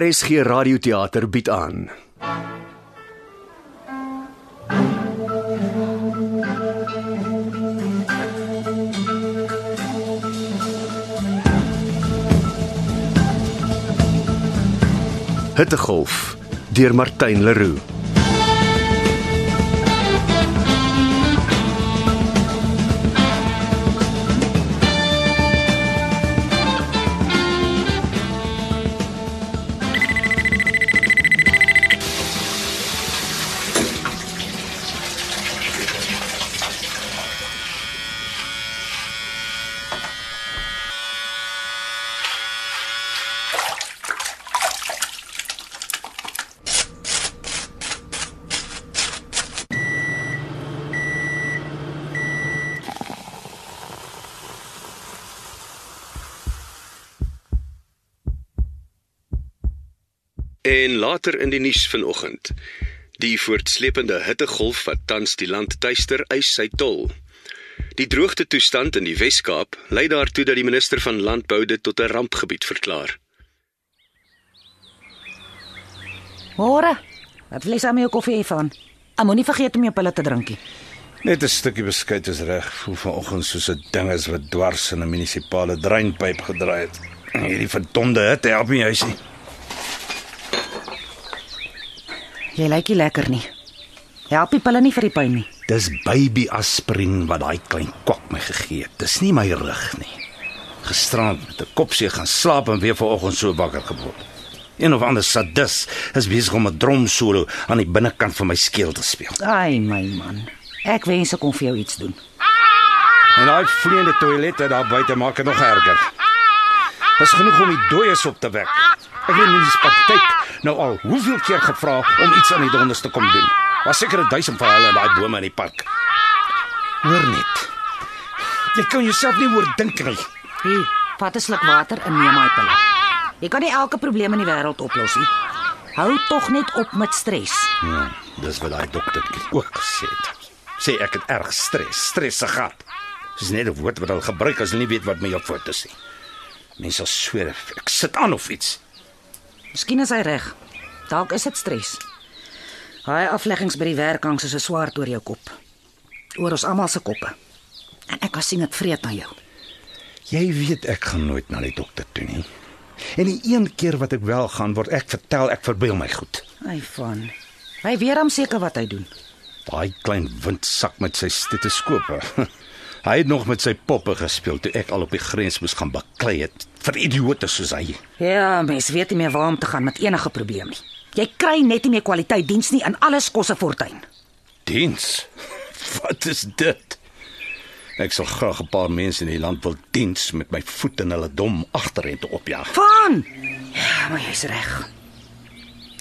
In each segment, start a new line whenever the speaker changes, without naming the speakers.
RSG Radioteater bied aan. Hittegolf deur Martin Leroux.
En later in die nuus vanoggend. Die voortsleepende hittegolf wat tans die land tuister, eis sy tol. Die droogte toestand in die Wes-Kaap lei daartoe dat die minister van Landbou dit tot 'n rampgebied verklaar.
Môre. Wat vlies aan jou koffie van? Ek moenie vergeet om jou pille te drinkie.
Net 'n stukkie beskuit is reg. Voel vanoggend soos 'n ding is wat dwars in 'n munisipale dreinpyp gedraai het. Hierdie verdomde hitte help my huisie.
Jy lyk nie lekker nie. Help die pille nie vir die pyn nie.
Dis baby aspirien wat daai klein kok my gegee het. Dis nie my rug nie. Gisterand met 'n kopseer gaan slaap en weer vanoggend so wakker geword. Een of ander sadis is besig om 'n dromsolo aan die binnekant van my keel te speel.
Ai my man. Ek wens ek kon vir jou iets doen.
En daai vleiende toilette daar buite maak dit nog erger. Dis genoeg om die dooies op te wek. Ek weet nie dis patet nou al hoeveel keer gevra om iets aan die donders te kom doen. Was seker 'n duisend van hulle in daai bome in die park. Hoor net. Jy kan jouself nie oordink nie.
Hier, vat 'n sluk water en neem my pille. Jy kan nie elke probleem in die wêreld oplos nie. Hou tog net op met stres.
Ja, dis wat daai dokter ook gesê het. Sê ek het erg stres, stres se gat. Dis net 'n woord wat hulle gebruik as hulle nie weet wat my op voet is nie. Mense sal swer ek sit aan of iets.
Miskien is hy reg. Dalk is dit stres. Daai afleggings by die werk hang soos 'n swaard oor jou kop. Oor ons almal se koppe. En ek was sien dit vreet aan jou.
Jy weet ek gaan nooit na die dokter toe nie. En die een keer wat ek wel gaan word ek vertel ek verbeel my goed.
Ai van. Hy weet hom seker wat hy doen.
Daai klein windsak met sy stetoskope. Hy het nog met sy poppe gespeel toe ek al op die grens moes gaan baklei het vir idioote soos hy.
Ja, mens weet nie meer waar om te gaan met enige probleem nie. Jy kry net nie meer kwaliteit diens nie en alles kos 'n fortuin.
Diens. Wat is dit? Ek sal graag 'n paar mense in die land wil diens met my voet in hulle dom agterrente opjaag.
Van. Ja, maar jy's reg.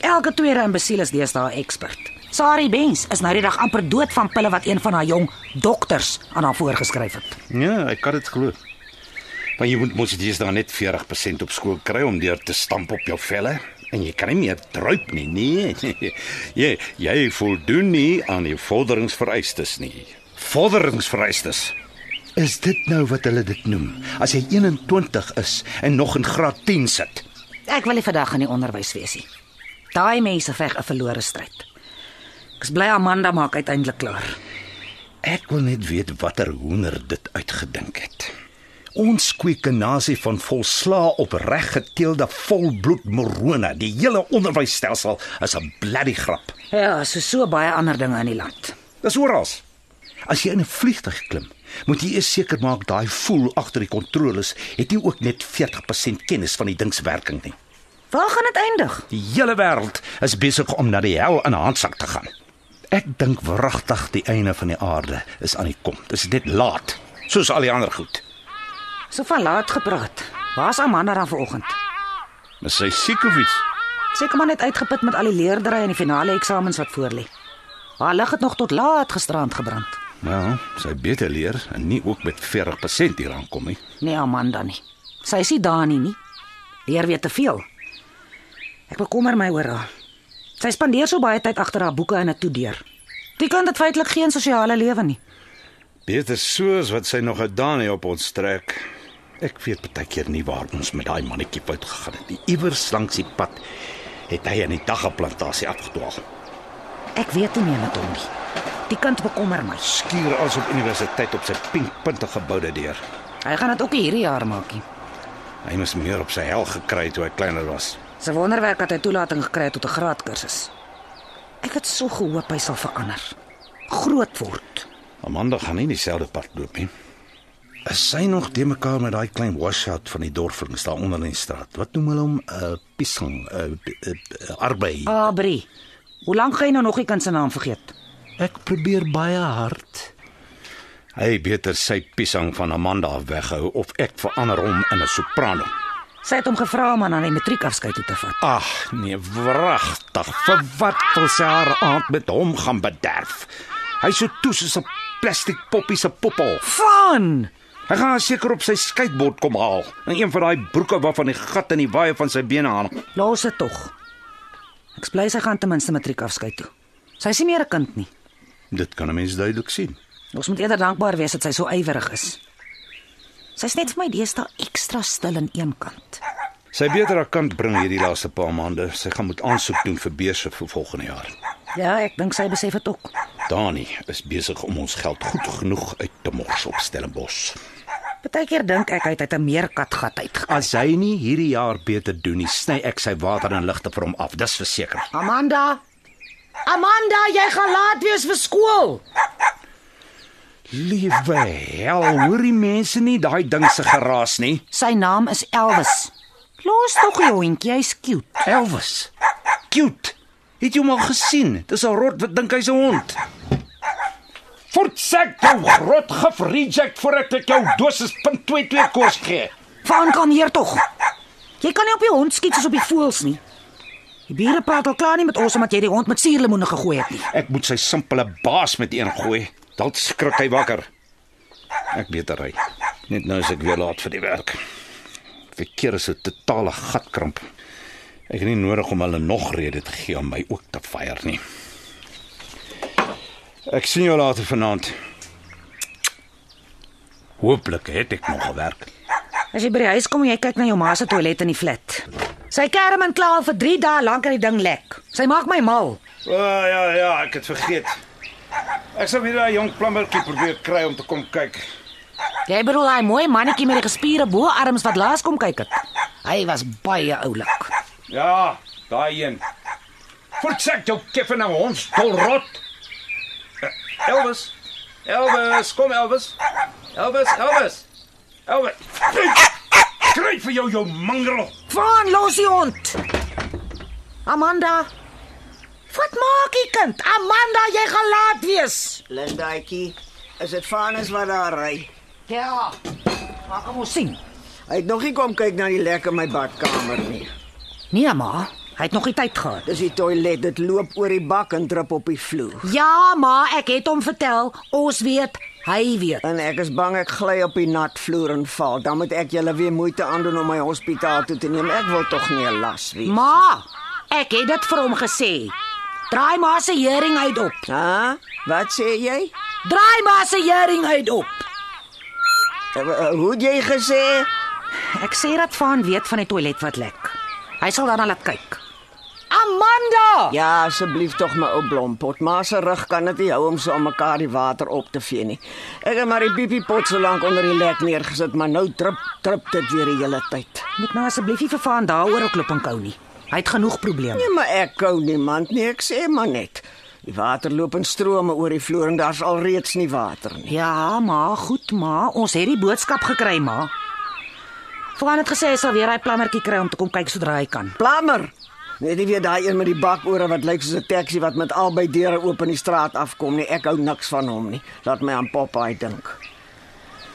Elke tweede imbesiel is deesdae 'n ekspert. Sari Benz is nou die dag amper dood van pille wat een van haar jong dokters aan haar voorgeskryf het.
Ja, ek kan dit glo. Want jy moet mos dis dan net 40% op skool kry om deur te stamp op jou velle en jy kan nie meer druip nie. Nee. jy jy voldoen nie aan die vorderingsvereistes nie. Vorderingsvereistes. Is dit nou wat hulle dit noem? As jy 21 is en nog in graad 10 sit.
Ek wil nie vandag in die onderwys wees nie. Daai mense veg 'n verlore stryd. Ek is bly Amanda maak uiteindelik klaar.
Ek wil net weet watter hoender dit uitgedink het. Ons kweek 'n nasie van volslaa opreg geteelde volbloed morone. Die hele onderwysstelsel is 'n bloody grap.
Ja, so so baie ander dinge in die land.
Dis oral. As jy in 'n vliegtuig klim, moet jy eers seker maak daai voel agter die kontroles het nie ook net 40% kennis van die ding se werking nie.
Waar gaan dit eindig?
Die hele wêreld is besig om na die hel in 'n handsak te gaan. Ek dink wragtig die einde van die aarde is aan die kom. Dis net laat, soos al die ander goed.
So van laat gepraat. Waar's Amanda dan vanoggend?
Maar sy siek of iets?
Seker maar net uitgeput met al die leerdery en die finale eksamens wat voor lê. Haar lig het nog tot laat gisterand gebrand.
Wel, sy beter leer en nie ook met 40% hier aankom nie.
Nee, Amanda nie. Sy is nie daar nie nie. Leer weer te veel. Ek bekommer my oor haar. Sy spandeer so baie tyd agter haar boeke en 'n toedeur. Die kind het feitelik geen sosiale lewe nie.
Beter soos wat sy nog gedaan het op ons trek. Ek weet baie keer nie waar ons met daai mannetjie fout gegaan het nie. Iewers langs die pad het hy aan die daggaplantasie afgedwaal.
Ek weet nie meer met hom nie. Die kind bekommer my.
Skuur as op universiteit op sy pinkpuntige boude deur.
Hy gaan dit ook nie hierdie jaar maak nie.
Hy moes meer op sy hel gekry het toe hy kleiner was.
Se wonderwerk dat hy toelating gekry het tot 'n graadkursus. Ek het so gehoop hy sal verander. Groot word.
Amanda gaan nie dieselfde pad loop nie. Is sy nog te mekaar met daai klein washout van die dorflings daar onder in die straat? Wat noem hulle hom? 'n uh, Piesang, 'n uh, uh, arbei.
Ah. Abri. Hoe lank gaan jy nou nog die kind se naam vergeet?
Ek probeer baie hard. Hy beter sy piesang van Amanda af weghou of ek verander hom in 'n soprano.
Sy het hom gevra om aan haar matriekafskeid toe te vat.
Ag, nee, wragtig. Vir wat wil sy haar aand met hom gaan bederf? Hy so toe soos 'n plastiek poppie se poppel.
Van!
Hy gaan haar seker op sy skateboard kom haal. In een van daai broeke waarvan die gat in die waaie van sy bene hang.
Los dit tog. Ek bly sy gaan ten minste matriekafskeid toe. Sy is nie meer 'n kind nie.
Dit kan 'n mens duidelik sien.
Ons moet eerder dankbaar wees dat sy so ywerig is. Sy's net vir my deesdae ekstra stil aan een kant.
Sy beter haar kant bring hierdie laaste paar maande. Sy gaan moet aansoek doen vir beurse vir volgende jaar.
Ja, ek dink sy besef dit ook.
Dani is besig om ons geld goed genoeg uit te mors op Stellenbosch.
Partykeer dink ek hy het uit 'n meerkatgat uitgekom.
As hy nie hierdie jaar beter doen nie, sny ek sy water en ligte vir hom af. Dis verseker.
Amanda! Amanda, jy gaan laat wees vir skool.
Liewe hel, hoor die mense nie daai ding se geraas nie.
Sy naam is Elvis. Los tog jou hondjie, hy's cute.
Elvis. Cute. Het jy hom al gesien? Dis 'n rot wat dink hy's 'n hond. Fortsek jou rot gif nou reject voor ek ek jou dosis .22 kos gee.
Van kom hier tog. Jy kan nie op die hond skiet soos op die voëls nie. Die bure praat al klaar nie met ons omdat jy die hond met suurlemoene gegooi het nie.
Ek moet sy simpele baas met een gooi. Dan skrik hy wakker. Ek beter ry. Net nou is ek weer laat vir die werk. Verkeer is 'n totale gatkramp. Ek het nie nodig om hulle nog rede te gee om my ook te vier nie. Ek sien jou later vanaand. Hooplik het ek nog gewerk.
As jy by die huis kom en jy kyk na jou ma se toilet in die flat. Sy kerm en kla al vir 3 dae lank aan die ding lek. Sy maak my mal.
O oh, ja ja, ek het vergeet. Ek sal weer daai jong plammertjie probeer kry om te kom kyk.
Jy bedoel daai mooi mannetjie met die gespierde boarme wat laas kom kyk het. Hy was baie oulik.
Ja, daai een. Fortsek jou kiffen en ons dolrot. Eh, Elvis. Elvis, kom Elvis. Elvis, Elvis. Elvis. Kry vir jou jou mangrel.
Van los die hond. Amanda. Wat maak jy kind? Amanda, jy gaan laat wees.
Lindaatjie, is dit Vanus wat daar ry?
Ja. Maar kom ons sien.
Hy het nog nie kom kyk na die lek in my badkamer nie.
Nee ma, hy het nog nie tyd gehad.
Dis die toilet, dit loop oor die bak en drup op die vloer.
Ja ma, ek het hom vertel. Ons weet, hy weet.
En ek is bang ek gly op die nat vloer en val. Dan moet ek julle weer moeite aandoen om my hospitaal toe te neem. Ek wil tog nie 'n las wees.
Ma, ek het dit vir hom gesê. Draai ma se hering uit op.
Ha? Wat sê jy?
Draai ma se hering uit op.
Eh, eh, Hoe het jy gesê?
Ek sê dat Van weet van die toilet wat lek. Hy sal daarna laat kyk. Amanda!
Ja, asseblief tog my ou blompot. Ma se rug kan dit nie hou om so aan mekaar die water op te vee nie. Ek het maar die pipiepot so lank onder die lek neergesit, maar nou drup drup dit weer die hele tyd.
Moet nou asseblief nie vir Van daaroor klop en kou nie. Hy het genoeg probleme.
Nee, maar ek kou niemand nie, ek sê maar net. Die water loop in strome oor die vloer en daar's alreeds nie water nie.
Ja, ma, goed ma, ons het die boodskap gekry, ma. Van het gesê hy sal weer hy plammertjie kry om te kom kyk sodra hy kan.
Plammer. Net nie weer daai een met die bakore wat lyk soos 'n taxi wat met albei deure oop in die straat afkom nie. Ek hou niks van hom nie. Laat my aan Popeye dink.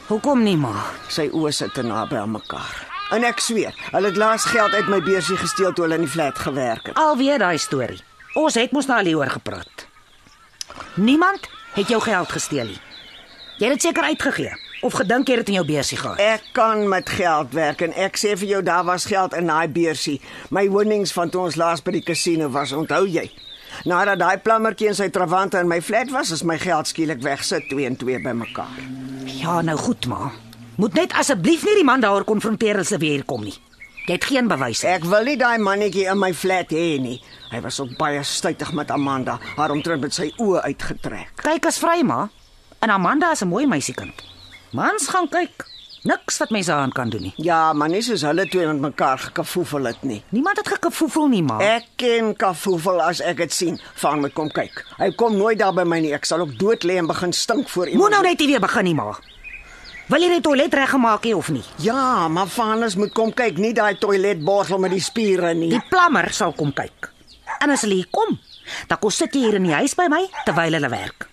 Hoekom nie, ma?
Sy oë sit te naby aan mekaar. En ek sweer, hulle het laas geld uit my beursie gesteel toe hulle in die flat gewerk het.
Alweer daai storie. Ons het mos nou al hieroor gepraat. Niemand het jou geld gesteel nie. Jy het dit seker uitgegee of gedink jy het dit in jou beursie gehad.
Ek kan met geld werk en ek sê vir jou daar was geld in daai beursie. My winnings van toe ons laas by die casino was, onthou jy? Nadat daai plammertjie in sy trawante in my flat was, is my geld skielik weg sit 2 en 2 bymekaar.
Ja, nou goed, ma. Moet net asseblief nie die man daaroor konfronteer as hy weer hier kom nie. Jy het geen bewyse.
Ek wil nie daai mannetjie in my flat hê nie. Hy was ook baie stytig met Amanda, haar omtrent met sy oë uitgetrek.
Kyk as vry ma. En Amanda is 'n mooi meisiekind. Mans gaan kyk. Niks wat mense aan kan doen nie.
Ja, maar nie soos hulle twee met mekaar gekafoefel het nie.
Niemand het gekofoefel nie ma.
Ek ken kafoefel as ek dit sien. Van my kom kyk. Hy kom nooit daar by my nie. Ek sal ook dood lê en begin stink voor iemand.
Moet nou net nie weer begin nie ma. Wil jy die toilet reggemaak hê of nie?
Ja, maar Vanus moet kom kyk, nie daai toiletbottel met die spiere nie.
Die plammer sal kom kyk. En as hulle hier kom, dan kos sit jy hier in die huis by my terwyl hulle werk.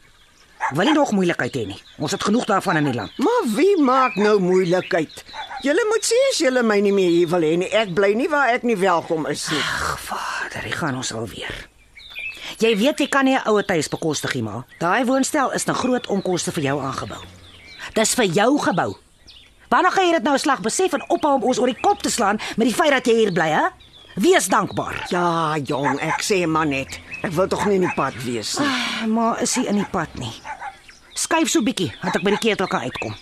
Ek wil nie nog moeilikheid hê nie. Ons het genoeg daarvan in die land.
Maar wie maak nou moeilikheid? Julle moet sê as julle my nie meer hier wil hê nie. Ek bly nie waar ek nie welkom is nie.
Ag vader, hier gaan ons alweer. Jy weet jy kan nie 'n ouer huis bekostig nie, maar daai woonstel is 'n groot onkoste vir jou aangebou. Dis vir jou gebou. Wanneer gaan jy dit nou slag besef en ophou om ons oor die kop te slaan met die feit dat jy hier bly, hè? Wees dankbaar.
Ja, jong, ek sê maar net. Ek wil tog nie in die pad wees
Ah.
nie.
Maar is hy in die pad nie. Skuif so bietjie, dat ek by die ketel kan uitkom.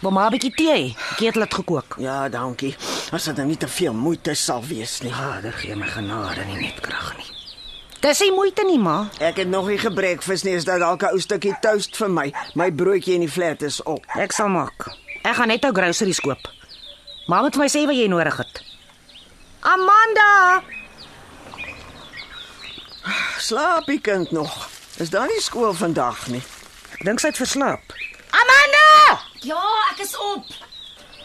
Wil maar 'n bietjie tee. hê? Die Ketel het gekook.
Ja, dankie. As dit nou nie te veel moeite sal wees nie.
Vader gee my genade nie net krag nie. Dis nie moeite nie, ma.
Ek het nog nie gebreekvis nie, is dit dalk 'n ou stukkie toast vir my. My broodjie in die flat is op.
Ek sal maak. Ek gaan net ou groceries koop. Maar moet vir my sê wat jy nodig het. Amanda,
Slaap die kind nog. Is daar nie skool vandag nie?
ek dink sy het verslaap.
Amanda! Ja, ek is op.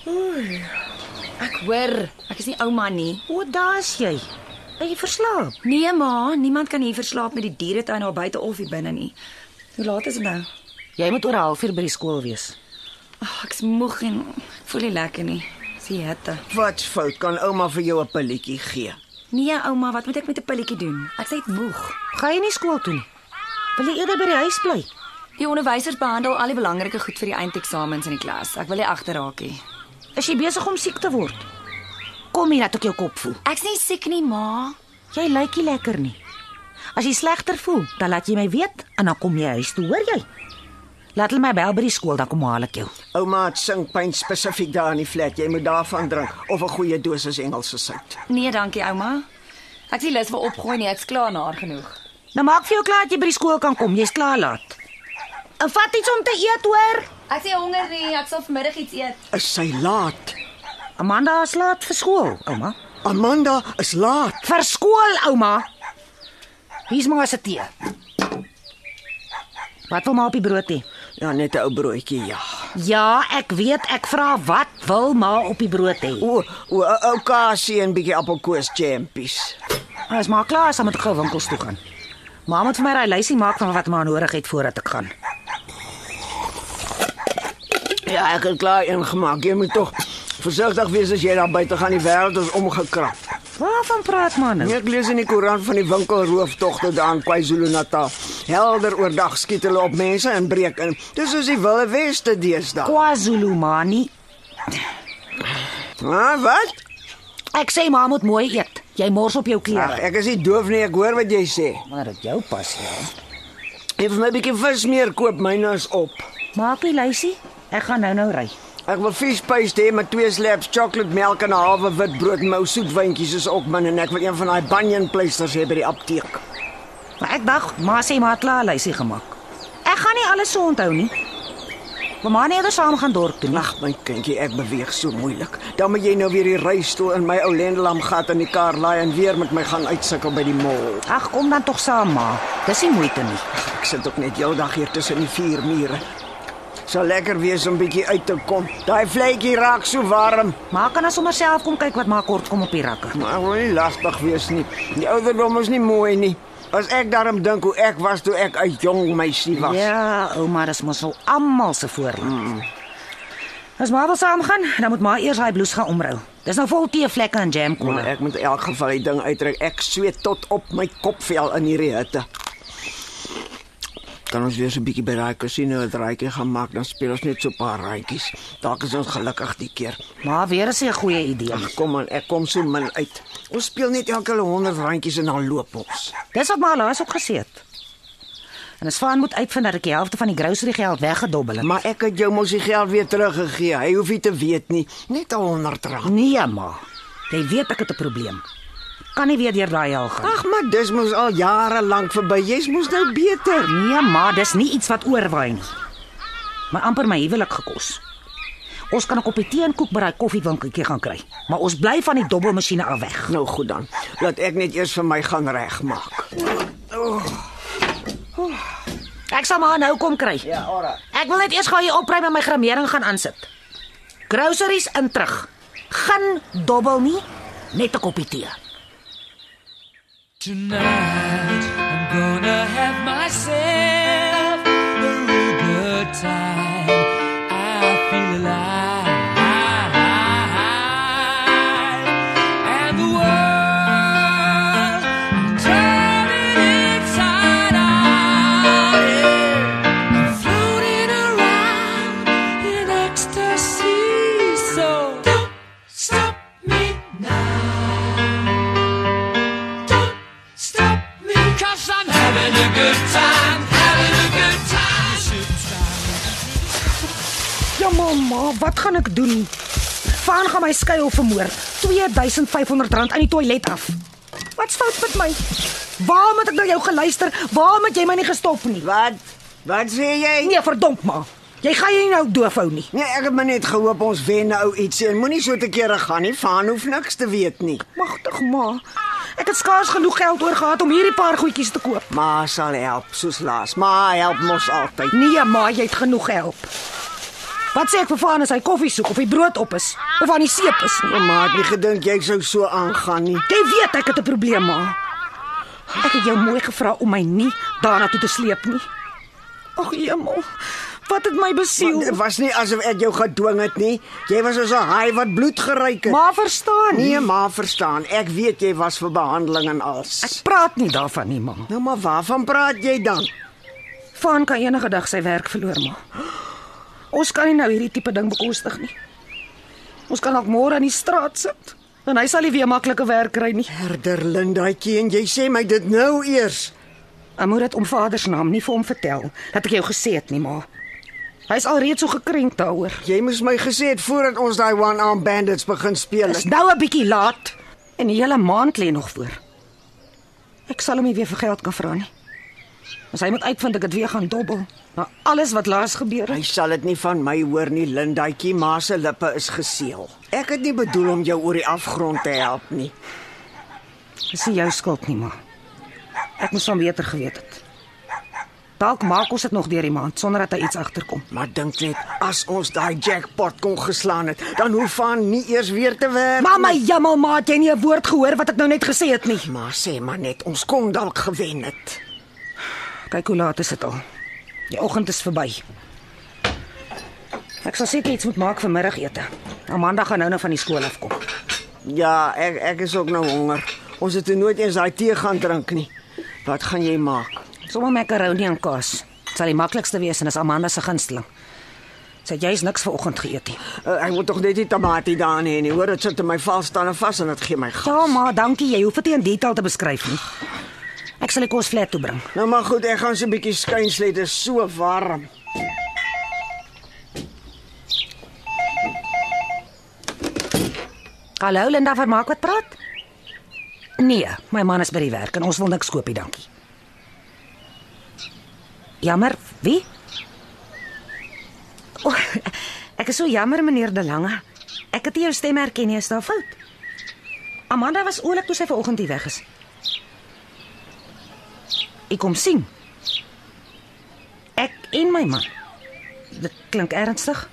Oei. Ek hoor, ek is nie ouma nie.
O, daar's jy. Jy verslaap.
Nee ma, niemand kan hier verslaap met die dieretuin daar buite of hier binne nie. Hoe laat is dit nou?
Jy moet oor 'n halfuur by die skool wees.
Ag, ek's moeg en ek voel nie lekker nie. Dis die hitte.
Wat fout kan ouma vir jou 'n pilletjie gee?
Nee ouma, wat moet ek met 'n pilletjie doen? Ek's net moeg.
Gaan jy nie skool toe nie? Wil jy eerder by die huis bly?
Die onderwysers behandel al die belangrike goed vir die eindeksamens in die klas. Ek wil nie agterraak nie.
Is jy besig om siek te word? Kom hier, laat ek jou kop voel.
Ek's nie siek nie, ma.
Jy lyk nie lekker nie. As jy slegter voel, dan laat jy my weet en dan kom jy huis toe, hoor jy? Laat hulle my bel by die skool dan kom haal ek jou.
Ouma het sinkpyn spesifiek daar in die flat. Jy moet daarvan drink of 'n goeie dosis Engelse sout.
Nee, dankie ouma. Ek's nie lus vir opgooi nie. Ek's klaar na haar genoeg.
Nou maak vir jou klaar dat jy by die skool kan kom. Jy's klaar laat. En Eh, vat iets om te eet, hoor.
Ek sê honger nie. Ek sal vanmiddag iets eet.
Is sy laat?
Amanda is laat vir skool, ouma.
Amanda is laat.
Vir skool, ouma. Hier's maar se tee. Wat wil maar op die brood hê?
Ja, net 'n ou broodjie, ja.
Ja, ek weet, ek vra wat wil maar op die brood hê?
O, o, 'n ou kasie en bietjie appelkoos jampies.
Ons maak klaar, dan moet ek gou winkels toe gaan. Ma moet vir my daai lysie maak van wat maar nodig het voordat ek gaan.
Ja, ek het klaar ingemaak. Jy moet tog versigtig wees as jy daar buite gaan. Die wêreld is omgekrap.
Waarvan praat man nou?
Nee, Ek lees in die koerant van die winkelrooftogte daar in KwaZulu-Natal. Helder oordag skiet hulle op mense en breek in. Dis soos die Wilde Weste deesdae.
KwaZulu mani.
Ah, wat?
Ek sê ma moet mooi eet. Jy mors op jou
Ag,
klere.
ek is nie doof nie. Ek hoor wat jy sê.
Maar dit jou pas ja.
Jy vir my 'n bietjie vis meer koop, myne is op.
Maak die lysie. Ek gaan nou-nou ry.
Ek wil viespaste hê met twee slaps sjokolademelk en 'n halwe wit brood en my ou soetwyntjies is ook min en ek wil een van daai banyan pleisters hê by die apteek.
Maar ek dag, ma sê ma het klaar lysie gemaak. Ek gaan nie alles so onthou nie. Maar ma nee, ons saam gaan dorp toe. Lag.
Ag my kindjie, ek beweeg so moeilik. Dan moet jy nou weer die reistool in my ou lendelam gat in die kar laai en weer met my gaan uitsukkel by die mall.
Ag, kom dan tog saam, ma. Dis nie moeite nie.
Ek sit ook net heeldag hier tussen die vier mure. Sal lekker wees om bietjie uit te kom. Daai vletjie raak so warm.
Ma kan dan sommer self kom kyk wat ma kort kom op die rakke.
Maar ek wil nie lastig wees nie. Die ouderdom is nie mooi nie. As ek daarom dink hoe ek was toe ek 'n jong meisie was.
Ja, ouma, dis mos al almal se voorland. As ma wil saamgaan, dan moet ma eers daai blouse gaan omrou. Dis nou vol teevlekke en jam
Maar
kolle.
ek moet in elk geval die ding uittrek. Ek sweet tot op my kopvel in hierdie hitte. Kan ons weer so 'n bietjie by daai casino 'n draaitjie gaan maak, dan speel ons net so 'n paar randjies. Dalk is ons gelukkig die keer.
Maar weer is 'n goeie idee.
Ag, kom aan, ek kom so min uit. Ons speel net elke 100 randjies en dan loop ons.
Dis wat ma laas ook gesê het. En as Van moet uitvind dat ek die helfte van die grocery geld weggedobbel het.
Maar ek het jou mos die geld weer teruggegee. Hy hoef nie te weet nie. Net 100 rand.
Nee, ma. Jy weet ek het 'n probleem. Kan nie weer deur daai hel gaan.
Ag, maar dis mos al jare lank verby. Jy's mos nou beter.
Nee, maar dis nie iets wat oorwaai nie. Maar amper my huwelik gekos. Ons kan ook op die teenkoek by daai koffiewinkeltjie gaan kry, maar ons bly van die dobbelmasjiene af weg.
Nou goed dan. Laat ek net eers vir my gaan regmaak.
Ek sal maar nou kom kry.
ora.
Ek wil net eers gou hier opruim en my grimering gaan aansit. Groceries in terug. Geen dobbel nie, net 'n koppie tee.
Tonight, I'm gonna have myself a real good time. I feel alive. And the world, I'm turning inside out. Yeah. I'm floating around in ecstasy. So don't stop me now. Don't stop me, cause I'm having a good time, having a good time.
Ja mamma, wat gaan ek doen? Van gaan my skuil vermoor. R2500 uit die toilet af. Wat's fout met my? Waarom het ek nou jou geluister? Waarom het jy my nie gestop nie?
Wat? Wat sê jy?
Nee, verdomp maar. Jy gaan jy nou doof hou nie.
Nee, ek het maar net gehoop ons wen nou iets en moenie so te kere gaan nie. Van hoef niks te weet nie.
Magtig ma. Ek het skaars genoeg geld oor gehad om hierdie paar goedjies te koop.
Ma sal help soos laas. Ma help mos altyd.
Nee ma, jy het genoeg gehelp. Wat sê ek vir Van as hy koffie soek of hy brood op is of aan die seep is nie?
Ma het nie gedink jy sou so aangaan nie.
Jy weet ek het 'n probleem ma. Ek het jou mooi gevra om my nie daarna toe te sleep nie. Ag jemmel. Wat het my besiel?
Dit was nie asof ek jou gedwing het nie. Jy was soos 'n haai wat bloed geruik het.
Ma verstaan nie.
nee, ma verstaan. Ek weet jy was vir behandeling en alles.
Ek praat nie daarvan nie ma.
Nou maar waarvan praat jy dan?
Van kan enige dag sy werk verloor maar. Ons kan nie nou hierdie tipe ding bekostig nie. Ons kan dalk môre aan die straat sit en hy sal nie weer maklike werk kry nie.
Herder Lindaatjie en jy sê my dit nou eers.
Ek moet dit om vader se naam nie vir hom vertel dat ek jou gesê het nie, ma. Hy's alreeds so gekrenk daaroor.
Jy moes my gesê het voordat ons daai one-arm bandits begin speel.
Dis nou 'n bietjie laat en die hele maand lê nog voor. Ek sal hom nie weer vir geld kan vra nie. As hy moet uitvind ek het weer gaan dobbel na alles wat laas gebeur
Hy
het.
sal dit nie van my hoor nie, Lindaatjie, maar se lippe is geseël. Ek het nie bedoel om jou oor die afgrond te help nie.
Dis nie jou skuld nie, ma. Ek moes hom beter geweet het. Dalk maak ons dit nog deur die maand sonder dat hy iets agterkom.
Maar dink net, as ons daai jackpot kon geslaan het, dan hoef aan nie eers weer te werk.
Mamma, jammal, ma, het jy nie 'n woord gehoor wat ek nou net gesê het nie.
maar sê maar net, ons kon dalk gewen het.
Kyk hoe laat is dit al. Die oggend is verby. Ek sal seker iets moet maak vir middagete. Amanda gaan nou nou van die skool af kom.
Ja, ek ek is ook nou honger. Ons het toe nooit eens daai tee gaan drink nie. Wat gaan jy maak?
Sommige makaroni en kaas. Dit sal die maklikste wees en is Amanda se gunsteling. Sy het jy's niks vanoggend geëet nie.
Uh, ek moet tog net die tamatie daarin hê nie. Hoor, dit sit in my val staan en vas en dit gee my gas.
Ja, ma, dankie. Jy hoef dit nie in detail te beskryf nie. Ek sal die kos flat toe bring.
Nou maar goed, ek gaan so 'n bietjie skuins lê, dit is so warm.
Hallo Linda, vermaak wat praat? Nee, my man is by die werk en ons wil niks koopie, dankie. Jammer, wie? O, ek is so jammer meneer De Lange. Ek het nie jou stem herken nie, is daar fout? Amanda was oulik toe sy vanoggend hier weg is. Ek kom sien. Ek en my man. Dit klink ernstig.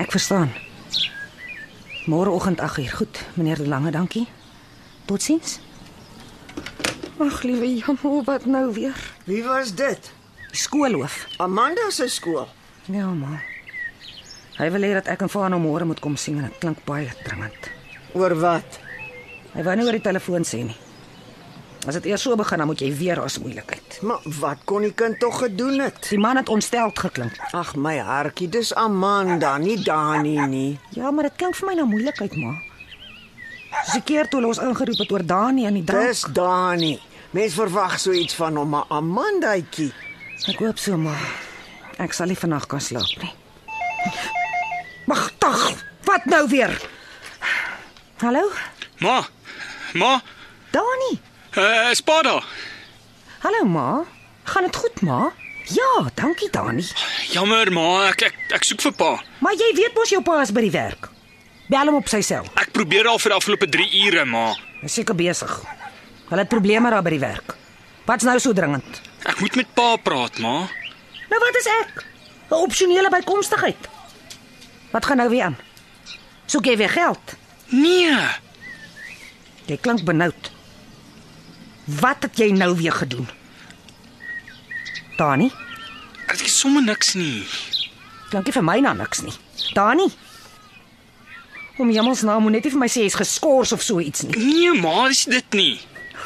Ek verstaan. Môreoggend 8uur. Goed, meneer De Lange, dankie. Totsiens. Ag, liewe Jamo, wat nou weer?
Wie was dit?
Die skoolhoof.
Amanda se skool.
Ja, ma. Hy wil hê dat ek en Fano môre moet kom sien en dit klink baie dringend.
Oor wat?
Hy wou nie oor die telefoon sê nie. As dit eers so begin, dan moet jy weer as moeilikheid.
Maar wat kon die kind tog gedoen het?
Die man het ontsteld geklink.
Ag my hartjie, dis Amanda, nie Dani nie.
Ja, maar dit klink vir my nou moeilikheid, ma. Soos die keer toe hulle ons ingeroep het oor Dani en die drank.
Dis Dani. Mens verwag so iets van hom, maar Amandaitjie.
Ek hoop so maar. Ek sal nie vannag kan slaap nie. Magtig. Wat nou weer? Hallo?
Ma. Ma,
Dani.
eh uh, Spada.
Hallo ma. Gaan dit goed ma? Ja, dankie Dani.
Jammer ma, ek ek ek soek vir pa.
Maar jy weet mos jou pa is by die werk. Bel hom op sy sel.
Ek probeer al vir die afgelope 3 ure, ma.
Hy's seker besig. Hulle het probleme daar by die werk. Wat's nou so dringend?
Ek moet met pa praat, ma.
Nou wat is ek? 'n Opsionele bykomstigheid. Wat gaan nou weer aan? Soek jy weer geld?
Nee.
Jy klink benoud. Wat het jy nou weer gedoen? Dani,
Ek is sommer niks nie.
klink nie vir my na niks nie. Dani. Om jemmels naam moet net nie vir my sê jy's geskort of so iets nie.
Nee, ma, dis dit nie.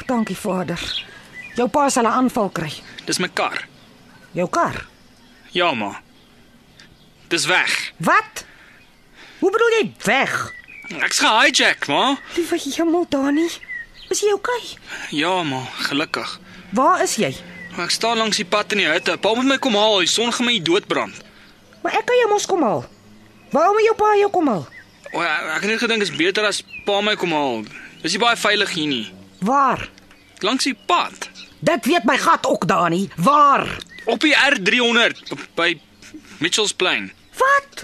Dankie Vader. Jou pa sal 'n aanval kry.
Dis my kar.
Jou kar.
Ja, ma. Dis weg.
Wat? Hoe bedoel jy weg?
Ek's gehijack, ma.
Liewe hemel, Dani. Is jy okay?
Ja, ma, gelukkig.
Waar is jy?
Maar Ek staan langs die pad in die hitte. Pa moet my kom haal. Die son gaan my doodbrand.
Maar ek kan jou mos kom haal. Waarom moet jou pa jou kom haal?
O, ja, ek het net gedink dit is beter as pa my kom haal. Dis nie baie veilig hier nie.
Waar?
Langs die pad.
Dit weet my gat ook, Dani. Waar?
Op die R300 b- by Mitchells Plain.
Wat?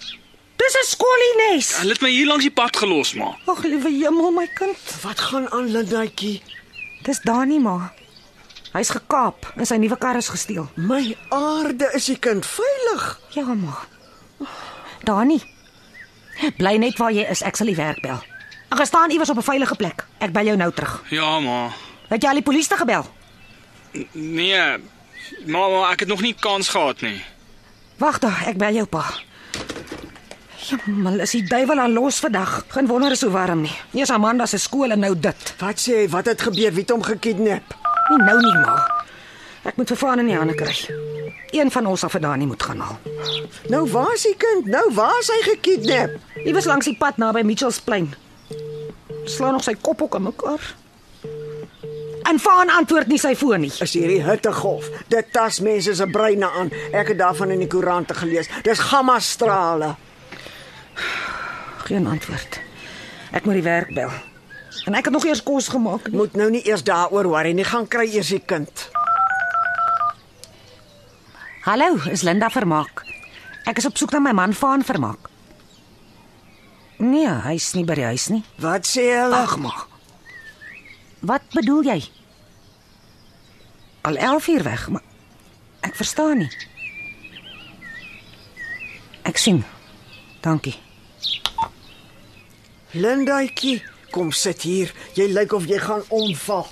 Dis 'n skollies.
Hulle het my hier langs die pad gelos, ma.
Ag, liewe hemel, my kind.
Wat gaan aan Lindaitjie?
Dis Dani ma. Hy's gekaap en sy nuwe kar is gesteel.
My aarde, is die kind veilig?
Ja, ma. Dani. Bly net waar jy is. Ek sal die werk bel. Ek gaan staan iewers op 'n veilige plek. Ek bel jou nou terug.
Ja, ma.
Het jy al die polisie te gebel?
Nee. Ma, ma, ek het nog nie kans gehad nie.
Wag daar, ek bel jou pa. Jammer, is die duiwel al los vandag. Geen wonder dit is so warm nie. Eers Amanda se skool en nou dit.
Wat sê hy? Wat het gebeur? Wie het hom gekidnap?
Nie nou nie, ma. Ek moet vervaan in die hande kry. Een van ons af vandaan nie moet gaan haal.
Nou waar is die kind? Nou waar is hy gekidnap?
Hy was langs die pad naby Mitchells Plain. Slaan nog sy kop ook aan mekaar. En Vaan antwoord nie sy foon nie.
Is hierdie hittegolf. Dit tas mense se breine aan. Ek het daarvan in die koerante gelees. Dis gamma strale.
Geen antwoord. Ek moet die werk bel. En ek het nog eers kos gemaak. nie.
Moet nou nie eers daaroor worry nie. Gaan kry eers die kind.
Hallo, is Linda Vermaak. Ek is op soek na my man Vaan Vermaak. Nee, hy's nie by die huis nie.
Wat sê hulle?
Ag maar. Wat bedoel jy? Al 11 uur weg, maar ek verstaan nie. Ek sien. Dankie.
Lindaitjie, kom sit hier. Jy lyk of jy gaan omval.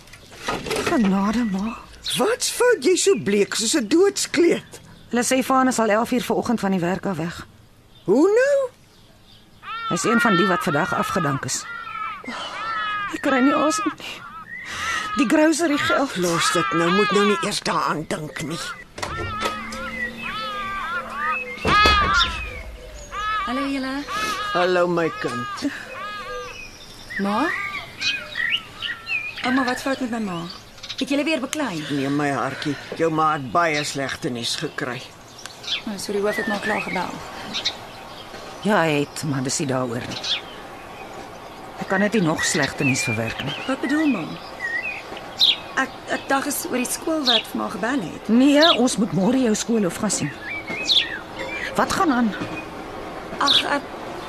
Genade ma.
Wat's fout? Jy's so bleek soos 'n doodskleed.
Hulle sê Vaan is al 11 uur vanoggend van die werk af weg.
Hoe nou?
Hy's een van die wat vandag afgedank is. Ek kry nie asem nie. Die grocery geld.
Los dit nou. Moet nou nie eers daaraan dink nie.
Hallo julle.
Hallo my kind.
Ma? Ouma, wat fout met my ma? Het julle weer beklei?
Nee my hartjie, jou ma het baie slegte nuus gekry.
Oh, sorry, hoof het maar klaar gebel.
Ja, hy het, maar dis nie daaroor nie. Ek kan dit nie nog slegter nuus verwerk nie.
Wat bedoel ma? Ek ek dink is oor die skool wat vir ma gebel het.
Nee, ons moet môre jou skool hof gaan sien. Wat gaan aan?
Ag, ek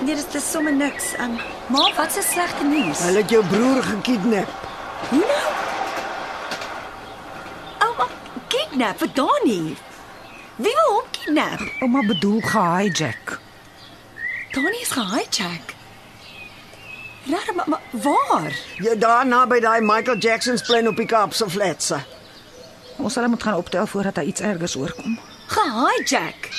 nee, dis dis sommer niks. Um, ma, wat se slegte nuus?
Hulle het jou broer gekidnap.
Hoe nou? Ouma, Oh, kidnap vir Dani. Wie wil hom kidnap?
Ouma bedoel gehijack.
Dani is gehijack. Raar, maar, maar waar?
Jy daar naby daai Michael Jackson's plein op die Kaapse flats.
Ons sal hom moet gaan optel voordat hy iets ergers oorkom.
Gehijack.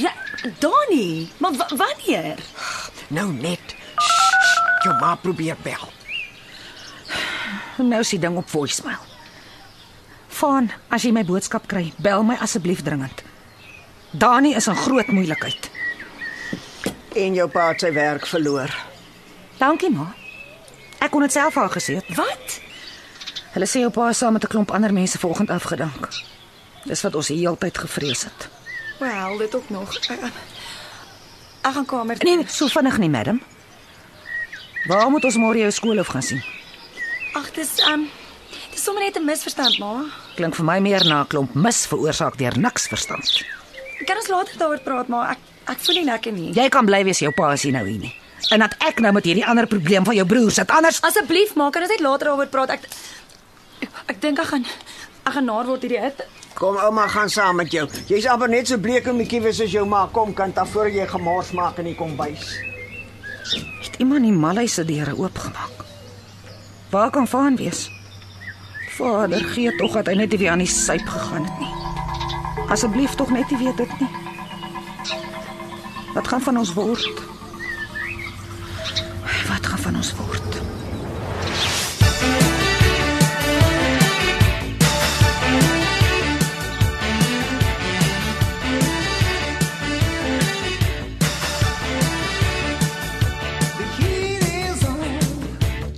Ra Dani, maar wa- wanneer?
Nou net. Sst, jou ma probeer bel.
En Nou is die ding op voicemail. Van, as jy my boodskap kry, bel my asseblief dringend. Dani is in groot moeilikheid.
En jou pa het sy werk verloor.
Dankie ma. Ek kon dit self al gesê het.
Wat?
Hulle sê jou pa is saam met 'n klomp ander mense vanoggend afgedank. Dis wat ons die hele tyd gevrees het.
Wel, dit ook nog. Ek, ek gaan kamer toe.
Nee, nee, so vinnig nie, madam. Waar moet ons môre jou skool af gaan sien?
Ag, dis um dis sommer net 'n misverstand, ma.
Klink vir my meer na 'n klomp mis veroorsaak deur niks verstand.
Kan ons later daaroor praat, maar ek ek voel nie lekker nie.
Jy kan bly wees jou pa is hier nou hier nie. En dat ek nou met hierdie ander probleem van jou broer sit. Anders
Asseblief, ma, kan ons net later daaroor praat. Ek ek dink ek gaan ek gaan naar word hierdie hit.
Kom ouma gaan saam met jou. Jy's amper net so bleek en bietjie wys as jou ma. Kom kan ta voor jy gemors maak in die kombuis.
het iemand die malhuis se deure oopgemaak. Waar kan Vaan wees? Vader gee tog dat hy net nie weer aan die suip gegaan het nie. Asseblief tog net nie weet dit nie. Wat gaan van ons word? Wat gaan van ons word?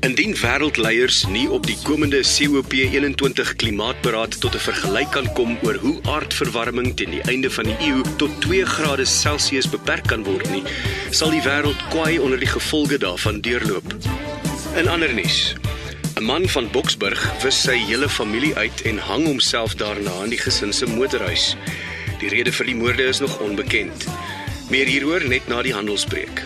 Indien wêreldleiers nie op die komende COP21 klimaatberaad tot 'n vergelyk kan kom oor hoe aardverwarming teen die einde van die eeu tot 2 grade Celsius beperk kan word nie, sal die wêreld kwaai onder die gevolge daarvan deurloop. In ander nuus, 'n man van Boksburg wis sy hele familie uit en hang homself daarna in die gesin se motorhuis. Die rede vir die moorde is nog onbekend. Meer hieroor net na die handelsbreek.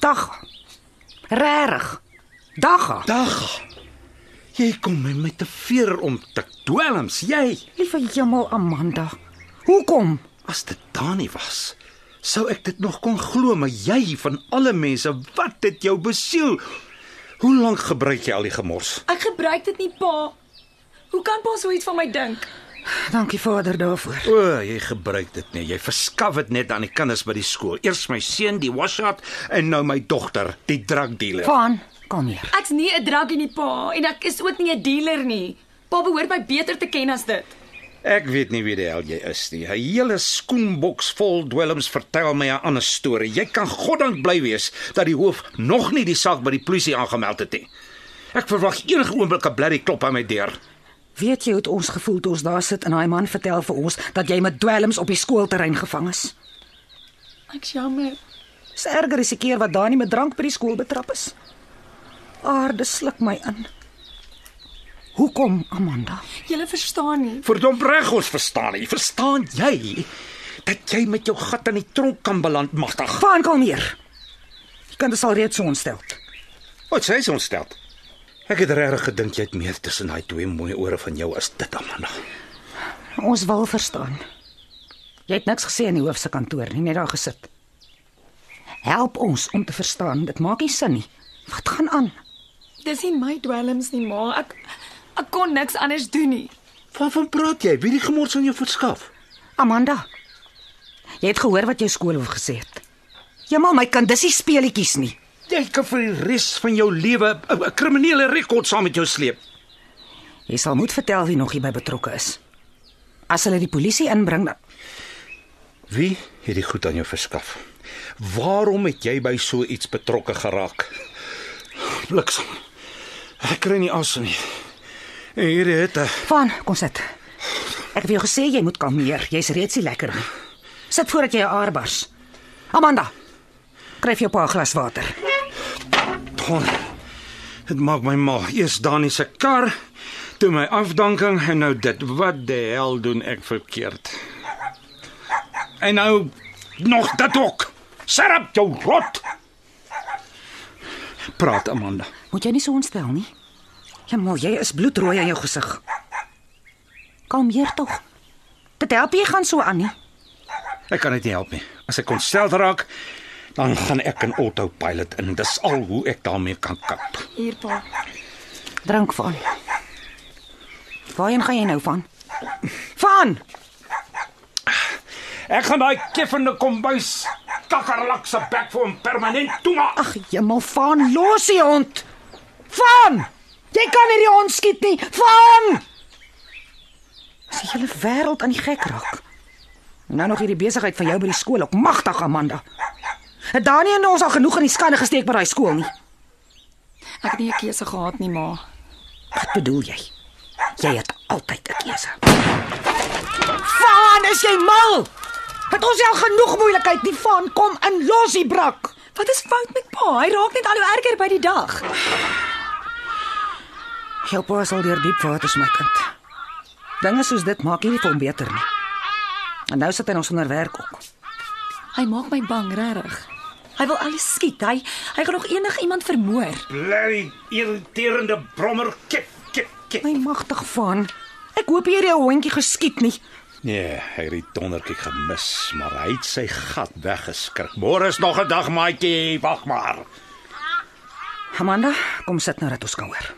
Dag. Regtig. Dag.
Dag. Jy kom my met 'n veer omtik. Dwelms, jy.
Liewe jemmel Amanda. Hoekom?
As dit daar nie was, sou ek dit nog kon glo, maar jy van alle mense, wat het jou besiel? Hoe lank gebruik jy al die gemors?
Ek gebruik dit nie, pa. Hoe kan pa so iets van my dink?
Dankie Vader daarvoor.
O, jy gebruik dit nie. Jy verskaf dit net aan die kinders by die skool. Eers my seun, die washout, en nou my dogter, die drugdealer.
Vaan, kom hier.
Ek's nie 'n druggie nie, pa, en ek is ook nie 'n dealer nie. Pa behoort my beter te ken as dit.
Ek weet nie wie die hel jy is nie. 'n Hele skoenboks vol dwelms vertel my 'n ander storie. Jy kan goddank bly wees dat die hoof nog nie die saak by die polisie aangemeld het nie. Ek verwag enige oomblik 'n blerrie klop aan my deur.
Weet jy hoe het ons gevoel toe ons daar sit en daai man vertel vir ons dat jy met dwelms op die skoolterrein gevang is?
Ek's jammer.
Dis erger as die keer wat daar nie met drank by die skool betrap is. Aarde sluk my in. Hoekom, Amanda?
Jy verstaan nie.
Verdomp reg ons verstaan nie. Verstaan jy dat jy met jou gat in die tronk kan beland, magtig?
Van kom hier. Jy kan dit al reeds so ontstel.
Wat sê jy ontstel? Ek het regtig gedink jy het meer tussen daai twee mooi ore van jou as dit, Amanda.
Ons wil verstaan. Jy het niks gesê in die hoof se kantoor nie, net daar gesit. Help ons om te verstaan. Dit maak nie sin nie. Wat gaan aan?
Dis nie my dwelms nie, ma. Ek ek kon niks anders doen nie.
Waarvan praat jy? Wie die gemors aan jou verskaf?
Amanda. Jy het gehoor wat jou skoolhoof gesê het. Jemal, my kind, dis nie speletjies nie.
Jy kan vir die res van jou lewe 'n- 'n kriminele rekord saam met jou sleep.
Jy sal moet vertel wie nog hierby betrokke is. As hulle die polisie inbring, dan
Wie het die goed aan jou verskaf? Waarom het jy by so iets betrokke geraak? Bliksem. Ek kry nie asem nie. En hierdie hitte.
van kom sit. Ek het vir jou gesê jy moet kalmeer. Jy's reeds nie lekker nie. Sit voordat jy jou aar bars. Amanda, kry vir jou pa 'n glas water.
Ton. Dit maak my mal. Eers Dani se kar, toe my afdanking en nou dit. Wat die hel doen ek verkeerd? En nou nog dit ook. Serp jou rot. Praat Amanda.
Moet jy nie so ontstel nie. Jemal, jy is bloedrooi aan jou gesig. Kalmeer tog. Dit help jy gaan so aan nie.
Ek kan dit nie help nie. As ek ontstel raak, dan gaan ek in autopilot in. Dis al hoe ek daarmee kan kap.
Hier, pa.
Drink van. Waarheen gaan jy nou van? Van.
Ek gaan daai kiffende kombuis kakkerlak se bek vir hom permanent toemaak.
Ag, jemal, van los die hond. Van! Jy kan hierdie hond skiet nie. Van! As die Julle wêreld aan die gek raak. En nou nog hierdie besigheid van jou by die skool, ek magtig Amanda. Het Daniël en ons al genoeg in die skande gesteek by daai skool nie?
Ek het nie 'n keuse gehad nie, ma.
Wat bedoel jy? Jy het altyd 'n keuse. Van, is jy mal? Het ons al genoeg moeilikheid nie van kom in losie brak.
Wat is fout met pa? Hy raak net al hoe erger by die dag.
Jou pa is al deur diep waters, my kind. Dinge soos dit maak nie vir hom beter nie. En nou sit hy ons onder werk ook.
Hy maak my bang, regtig. Hy wil alles skiet. Hy hy gaan nog enig iemand vermoor.
Blerry, irriterende brommer. Kip, kip, kip.
My magtig van. Ek hoop hier jou hondjie geskiet nie.
Nee, hy het die dondertjie gemis, maar hy het sy gat weggeskrik. Môre is nog 'n dag, maatjie. Wag maar.
Amanda, kom sit nou dat ons kan hoor.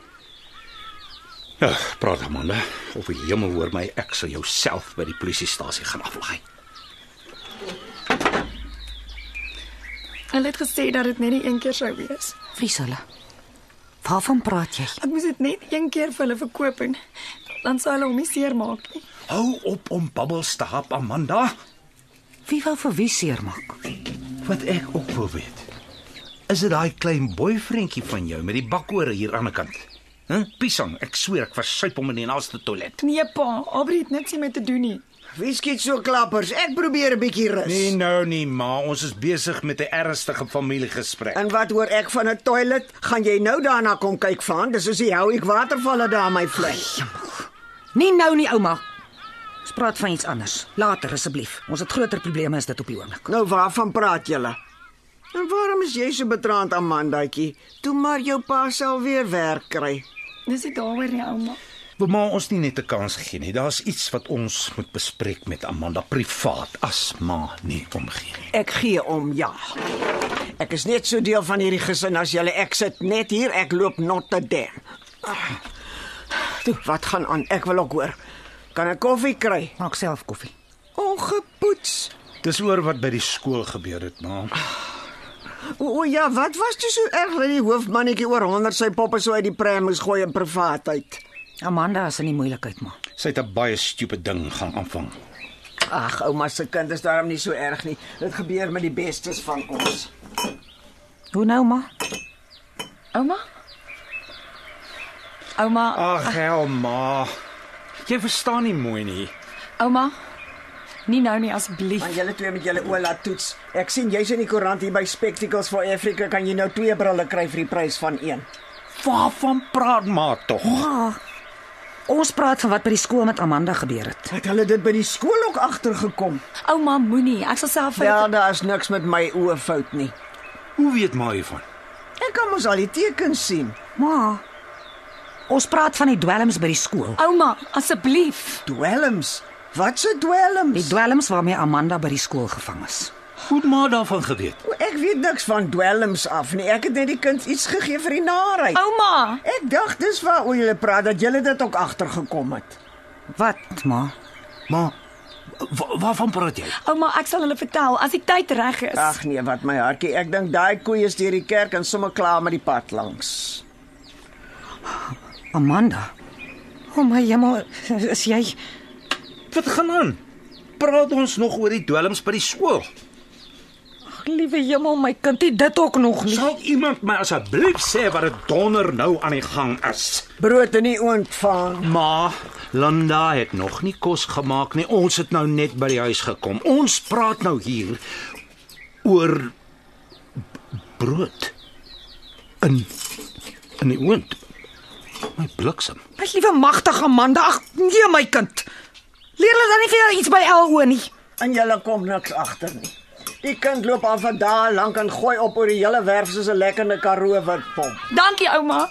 Ja, praat Amanda. Of die hemel hoor my, ek sal jou self by die polisiestasie gaan aflaai.
Hulle het gesê dat dit net die een keer sou wees.
Vries hulle. Waarvan praat jy?
Ek moes dit net een keer vir hulle verkoop en dan sou hulle hom nie seermaak nie.
Hou op om bubbels te hap, Amanda.
Wie wou vir wie seermaak?
Wat ek ook wil weet. Is dit daai klein boyfriendjie van jou met die bakore hier aan die kant? Hæ? Huh? Pisang, ek sweer ek versuip hom in die naaste toilet.
Nee pa, Aubrey het niks hiermee te doen nie.
Wie skiet so klappers? Ek probeer 'n bietjie rus.
Nee nou nie, ma, ons is besig met 'n ernstige familiegesprek.
En wat hoor ek van 'n toilet? Gaan jy nou daarna kom kyk van? Dis soos die hou ek watervalle daar my vlei.
Nie nou nie, ouma. Ons praat van iets anders. Later asseblief. Ons het groter probleme as dit op die oomblik.
Nou waarvan praat julle? En waarom is jy so betraand Amandaatjie? Toe maar jou pa sal weer werk kry.
Dis nie daaroor nie, ouma.
Bema ons nie net 'n kans gee nie. Daar's iets wat ons moet bespreek met Amanda privaat as ma nie omgee nie.
Ek gee om, ja. Ek is net so deel van hierdie gesin as julle. Ek sit net hier, ek loop Notre Dame. Ah. Toe, wat gaan aan? Ek wil ook hoor. Kan ek koffie kry?
Maak self koffie.
Ongepoets.
Dis oor wat by die skool gebeur het, ma.
O, o ja, wat was dit so erg dat die hoofmannetjie oor 100 sy poppe so uit die pram moes gooi in privaatheid?
Amanda is in die moeilikheid maar.
Sy het 'n baie stupid ding gaan aanvang.
Ag, ouma se kind is daarom nie so erg nie. Dit gebeur met die bestes van ons.
Hoe nou maar?
Ouma? Ouma,
Ag, hel, ma. Jy verstaan nie mooi nie.
ouma. Nie nou nie asseblief.
Maar julle twee met julle oë laat toets. Ek sien jy's in die koerant hier by Spectacles for Africa kan jy nou twee brille kry vir die prys van een.
Waarvan praat ma tog?
Ons praat van wat by die skool met Amanda gebeur het.
Het hulle dit by die skool ook agtergekom?
Ouma moenie, ek sal self vir
Wel, daar's Ja, niks met my oë fout nie.
Hoe weet ma hiervan?
Ek kan mos al die tekens sien.
Ma. Ons praat van die dwelms by die skool.
Ouma, asseblief.
Dwelms. Wat se dwelms?
Die dwelms waarmee Amanda by die skool gevang is.
Goed ma daarvan geweet.
O, Ek weet niks van dwelms af nie. Ek het net die kind iets gegee vir die narigheid.
Ouma,
Ek dink dis waaroor julle praat dat julle dit ook agtergekom het.
Wat, ma?
Ma, wa- waarvan praat jy?
ouma, ek sal hulle vertel as die tyd reg is.
Ag nee, wat my hartjie. Ek dink daai koei is deur die kerk en sommer klaar met die pad langs.
Amanda. O oh my hemel, is jy
Wat gaan aan? Praat ons nog oor die dwelms by die skool?
Ag, liewe hemel, my kind, het dit ook nog nie.
Sal iemand my asseblief sê wat dit donder nou aan die gang is?
Brood in die oond van.
Ma, Linda het nog nie kos gemaak nie. Ons het nou net by die huis gekom. Ons praat nou hier oor b- brood. In in die oond. My bliksem.
My liewe magtige Amanda, ag nee my kind. Leer hulle dan nie vir jou iets by LO nie.
En julle kom niks agter nie. Die kind loop al van daar lank en gooi op oor die hele werf soos 'n lekkende karoo wat pomp.
Dankie ouma.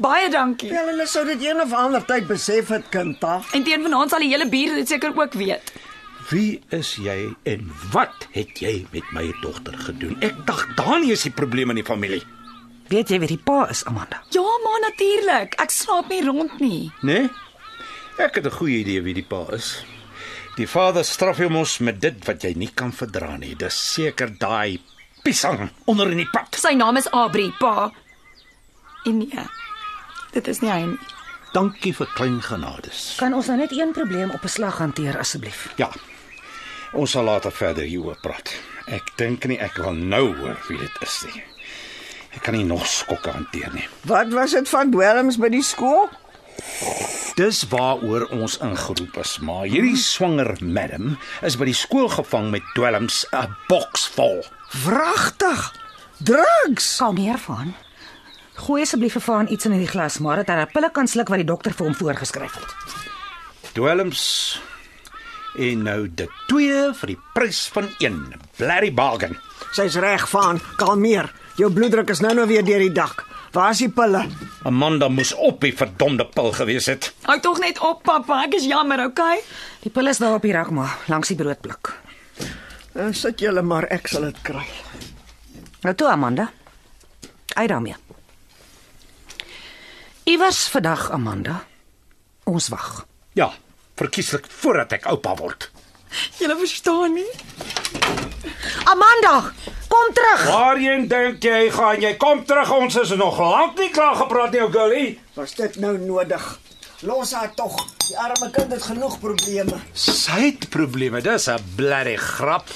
Baie dankie.
Wel, hulle sou dit een of ander tyd besef het, kind, ah. ta.
En teen vanaand sal die hele buurt dit seker ook weet.
Wie is jy en wat het jy met my dogter gedoen? Ek dacht Dani is die probleem in die familie.
Weet jy wie die pa is, Amanda?
Ja, ma natuurlik. Ek slaap nie rond nie.
Né? Nee? Ek het 'n goeie idee wie die pa is. Die vader straf jou mos met dit wat jy nie kan verdra nie. Dis seker daai piesang onder in die pad.
Sy naam is Aubrey, pa. En nee. Dit is nie hy nie.
Dankie vir klein genades.
Kan ons nou net een probleem op 'n slag hanteer asseblief?
Ja. Ons sal later verder hieroor praat. Ek dink nie ek wil nou hoor wie dit is nie. Ek kan nie nog skokke hanteer nie.
Wat was dit van dwelms by die skool?
Dis waaroor ons ingeroep is, maar hierdie swanger madam is by die skool gevang met dwelms 'n boks vol.
Wragtig. Drugs.
Kalmeer van. Gooi asseblief vir Van iets in hierdie glas, maar dat hy 'n pille kan sluk wat die dokter vir hom voorgeskryf het.
Dwelms en nou dit twee vir die prys van een. Blerry bargain.
Sy's reg van. Kalmeer. Jou bloeddruk is nou nou weer deur die dak. Waar is die pille?
Amanda moes op die verdomde pil gewees het.
Hou tog net op, pappa. Ek is jammer, okay?
Die pille is daar op die rak maar langs die broodblik.
Eh, Sit julle maar, ek sal dit kry.
Nou toe Amanda. Ai daarmee. Iewers vandag Amanda. Ons wag.
Ja, verkieslik voordat ek oupa word.
Jy verstaan nie.
Amanda, kom terug.
Waarheen dink jy gaan jy? Kom terug, ons is nog lank nie klaar gepraat nie, ou girlie.
Was dit nou nodig? Los haar tog. Die arme kind het genoeg probleme.
Sy het probleme. Dis 'n blerrie grap.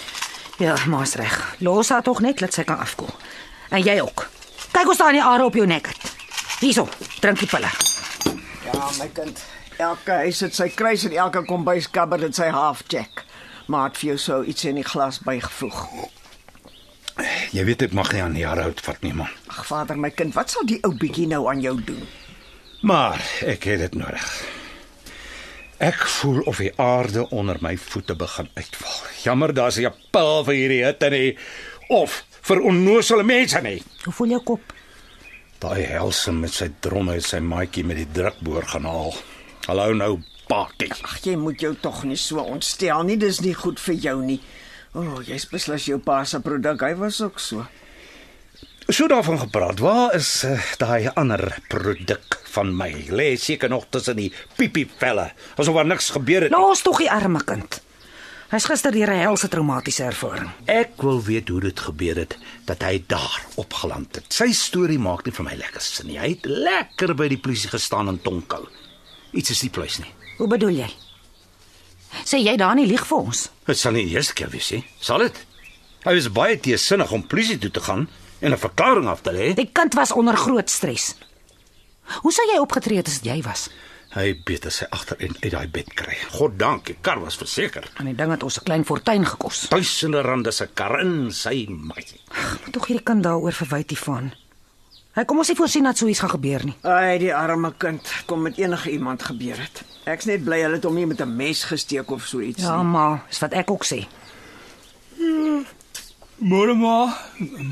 Ja, maar's reg. Los haar tog net dat sy kan afkoel. En jy ook. Kyk hoe staan die are op jou nek. het. Hierso, drink die pille.
Ja, my kind. Elke huis het sy kruis en elke kombuiskabber het sy half check. Maar het vir jou sou iets in die glas bygevoeg.
Jy weet ek mag nie aan jare oud vat nie, man.
Ag vader, my kind, wat sal die ou bietjie nou aan jou doen?
Maar ek het dit nodig. Ek voel of die aarde onder my voete begin uitval. Jammer, daar's nie 'n pil vir hierdie hitte nie of vir onnosele mense nie.
Hoe voel jou kop?
Daai helse met sy dromme het sy maatjie met die drukboor gaan haal. Hallo nou, pakkie.
Ag, jy moet jou tog nie so ontstel nie. Dis nie goed vir jou nie. O, oh, jy's beslis jou pa se produk. Hy was ook so.
So daarvan gepraat. Waar is uh, daai ander produk van my? Lê seker nog tussen die pipievelle. Asof daar niks gebeur het.
Los tog die arme kind. Hy's gister deur 'n helse traumatiese ervaring.
Ek wil weet hoe dit gebeur het dat hy daar opgeland het. Sy storie maak nie vir my lekker sin nie. Hy het lekker by die polisie gestaan en tonkel. Iets is nie pluis nie.
Hoe bedoel jy? Sê jy daar nie lieg vir ons?
Dit sal nie die eerste keer wees nie. Sal dit? Hy was baie teesinnig om polisie toe te gaan en 'n verklaring af te lê.
Die kind was onder groot stres. Hoe sou jy opgetree het as dit jy was?
Hy beter sy agter en uit daai bed kry. God dank, die kar was verseker.
En die ding het ons 'n klein fortuin gekos.
Duisende rande se kar in sy maatjie.
Moet tog hierdie kind daaroor verwyd hiervan. Hy kom ons nie voorsien dat so iets gaan gebeur nie.
Ai, die arme kind kom met enige iemand gebeur het. Ek's net bly hulle het hom nie met 'n mes gesteek of so iets
Ja,
nie.
maar is wat ek ook sê.
Môre ma,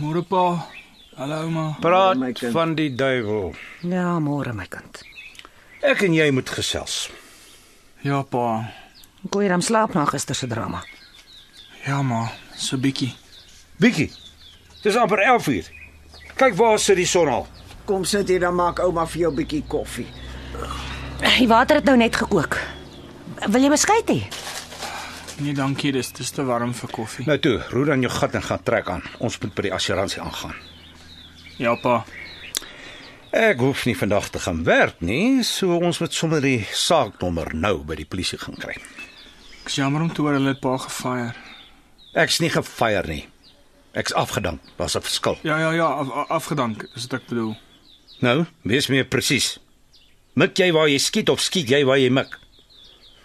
môre pa. Hallo ma.
Praat
Ja, my kind.
van die duiwel.
Ja, môre my kind.
Ek en jy moet gesels.
Ja pa.
Goeie dan slaap na gister se drama.
Ja ma, so bietjie.
Bietjie. Dis amper 11uur. Kyk waar sit die son al.
Kom sit hier dan maak ouma vir jou 'n bietjie koffie.
Die water het nou net gekook. Wil jy beskuit hê?
Nee, dankie, dis dis te warm vir koffie.
Nou toe, roer dan jou gat en gaan trek aan. Ons moet by die assuransie aangaan.
Ja pa.
Ek hoef nie vandag te gaan werk nie, so ons moet sommer die saaknommer nou by die polisie gaan kry.
Ek is jammer om te hoor hulle het pa gefire.
Ek's nie gefire nie. Ek's afgedank. Was 'n verskil.
Ja ja ja, af, af, afgedank is dit ek bedoel.
Nou, wees meer presies. Mik jy waar jy skiet of skiet jy waar jy mik?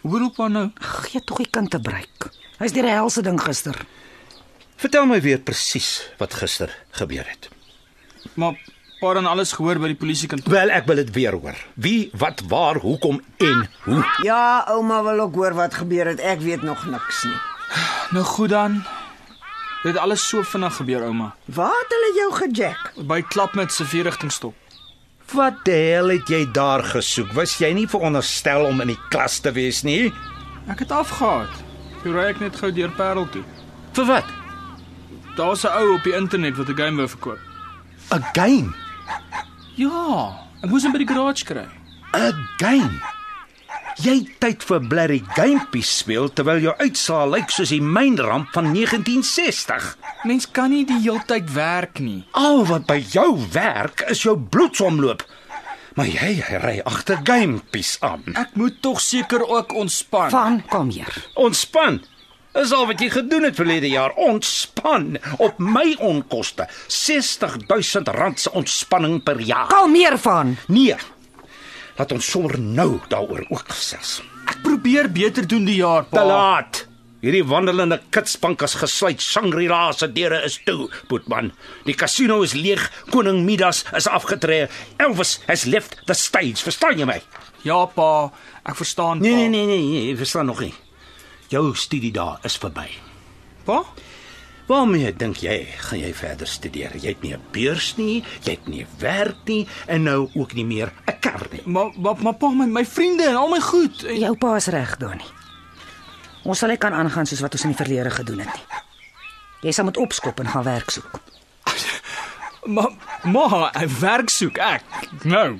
Hoe bedoel pa nou?
Gee tog die kind 'n breek. Hy's deur 'n helse ding gister.
Vertel my weer presies wat gister gebeur het.
Maar pa het dan alles gehoor by die polisiekantoor.
Wel, ek wil dit weer hoor. Wie, wat, waar, hoekom en hoe?
Ja, ouma wil ook hoor wat gebeur het. Ek weet nog niks nie.
Nou goed dan. Dit het alles so vinnig gebeur, ouma.
Waar het hulle jou gejack?
By klap met se vierrigtingstop.
Wat die hel het jy daar gesoek? Was jy nie veronderstel om in die klas te wees nie?
Ek het afgehaat. Toe ry ek net gou deur Parel toe.
Vir wat?
Daar's 'n ou op die internet wat 'n game wou verkoop.
'n Game.
Ja, ek moes hom by die garage kry.
'n Game. Jy het tyd vir blerry gamepie speel terwyl jou uitsaal lyk soos die mynramp van 1960.
Mens kan nie die heeltyd werk nie.
Al wat by jou werk is jou bloedsomloop. Maar jy ry agter gamepie's aan.
Ek moet tog seker ook ontspan.
Van kom hier.
Ontspan. Is al wat jy gedoen het verlede jaar. Ontspan op my onkoste. 60000 rand se ontspanning per jaar.
Kalmeer van.
Nee. Laat ons sommer nou daaroor ook gesels. Ah.
Ek probeer beter doen die jaar,
Te laat. Hierdie wandelende kitsbank is gesluit. Shangri-La se deure is toe, Boetman. Die kasino is leeg. Koning Midas is afgetree. Elvis has left the stage. Verstaan jy my?
Ja, pa. Ek verstaan.
Nee,
pa.
nee, nee, nee, nee, jy verstaan nog nie. Jou studie daar is verby.
Pa?
Waarmee dink jy gaan jy verder studeer? Jy het nie 'n beurs nie, jy het nie werk nie en nou ook nie meer 'n kar nie.
Maar maar maar pa, my, my vriende en al my goed. En-
Jou pa is reg, Donnie. Ons sal nie kan aangaan soos wat ons in die verlede gedoen het nie. Jy sal moet opskop en gaan werk soek.
Maar maar ek werk soek ek. Nou.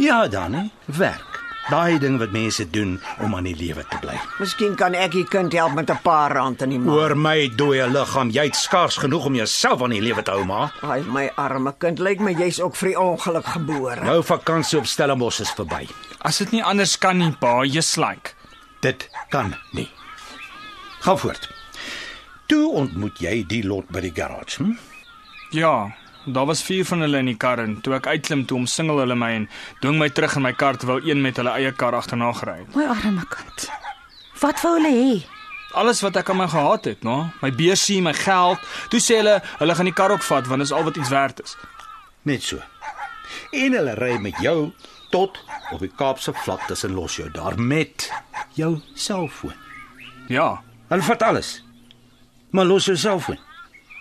Ja, dan hè, werk. Daai ding wat mense doen om aan die lewe te bly.
Miskien kan ek die kind help met 'n paar rand in die maand.
Oor my dooie liggaam, jy het skaars genoeg om jouself aan die lewe te hou, maar
Ai my arme kind, lyk my jy's ook vir die ongeluk gebore.
jou Nou vakansie op Stellenbosch is verby.
As dit nie anders kan nie, pa, jy's like.
Dit kan nie. Gaan voort. Toe ontmoet jy die lot by die garage. Hm?
Ja, daar was vier van hulle in die kar en toe ek uitklim toe omsingel hulle my en dwing my terug in my kar terwyl een met hulle eie kar agterna gery het.
My arme kind. Wat wou hulle hê?
Alles wat ek aan my gehad het, no, my beursie, my geld. Toe sê hulle, hulle gaan die kar ook vat want dit is al wat iets werd is.
Net so. En hulle ry met jou tot op die Kaapse vlakte en los jou daar met jou selfoon.
Ja.
Hulle vat alles. Maar los jou selfoon.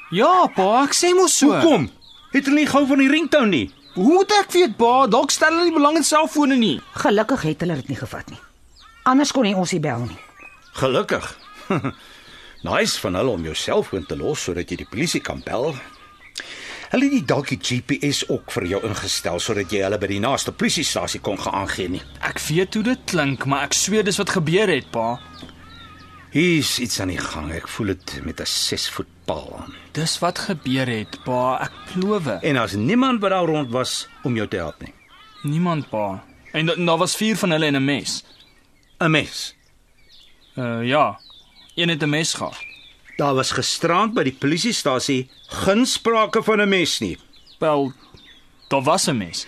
Ja, pa, ek sê mos so.
Hoekom? Het hulle nie gou van die ringtone nie?
Hoe moet ek weet, pa? Dalk stel hulle nie belang in selfone nie.
Gelukkig het hulle dit nie gevat nie. Anders kon hy ons nie bel nie.
Gelukkig. nice van hulle om jou selfoon te los sodat jy die polisie kan bel. Hulle het nie dalk die GPS ook vir jou ingestel sodat jy hulle by die naaste polisiestasie kon gaan aangee nie.
Ek weet hoe dit klink, maar ek sweer dis wat gebeur het, pa.
Hier's iets aan die gang. Ek voel dit met 'n 6 voet paal aan.
Dis wat gebeur het, pa. Ek plowe.
En daar's niemand wat daar rond was om jou te help nie.
Niemand, pa. En da- en daar was vier van hulle en 'n mes.
'n Mes.
Uh ja. Een het 'n mes gehad.
Daar was gisterand by die polisiestasie geen sprake van 'n mes nie.
Wel, daar was 'n mes.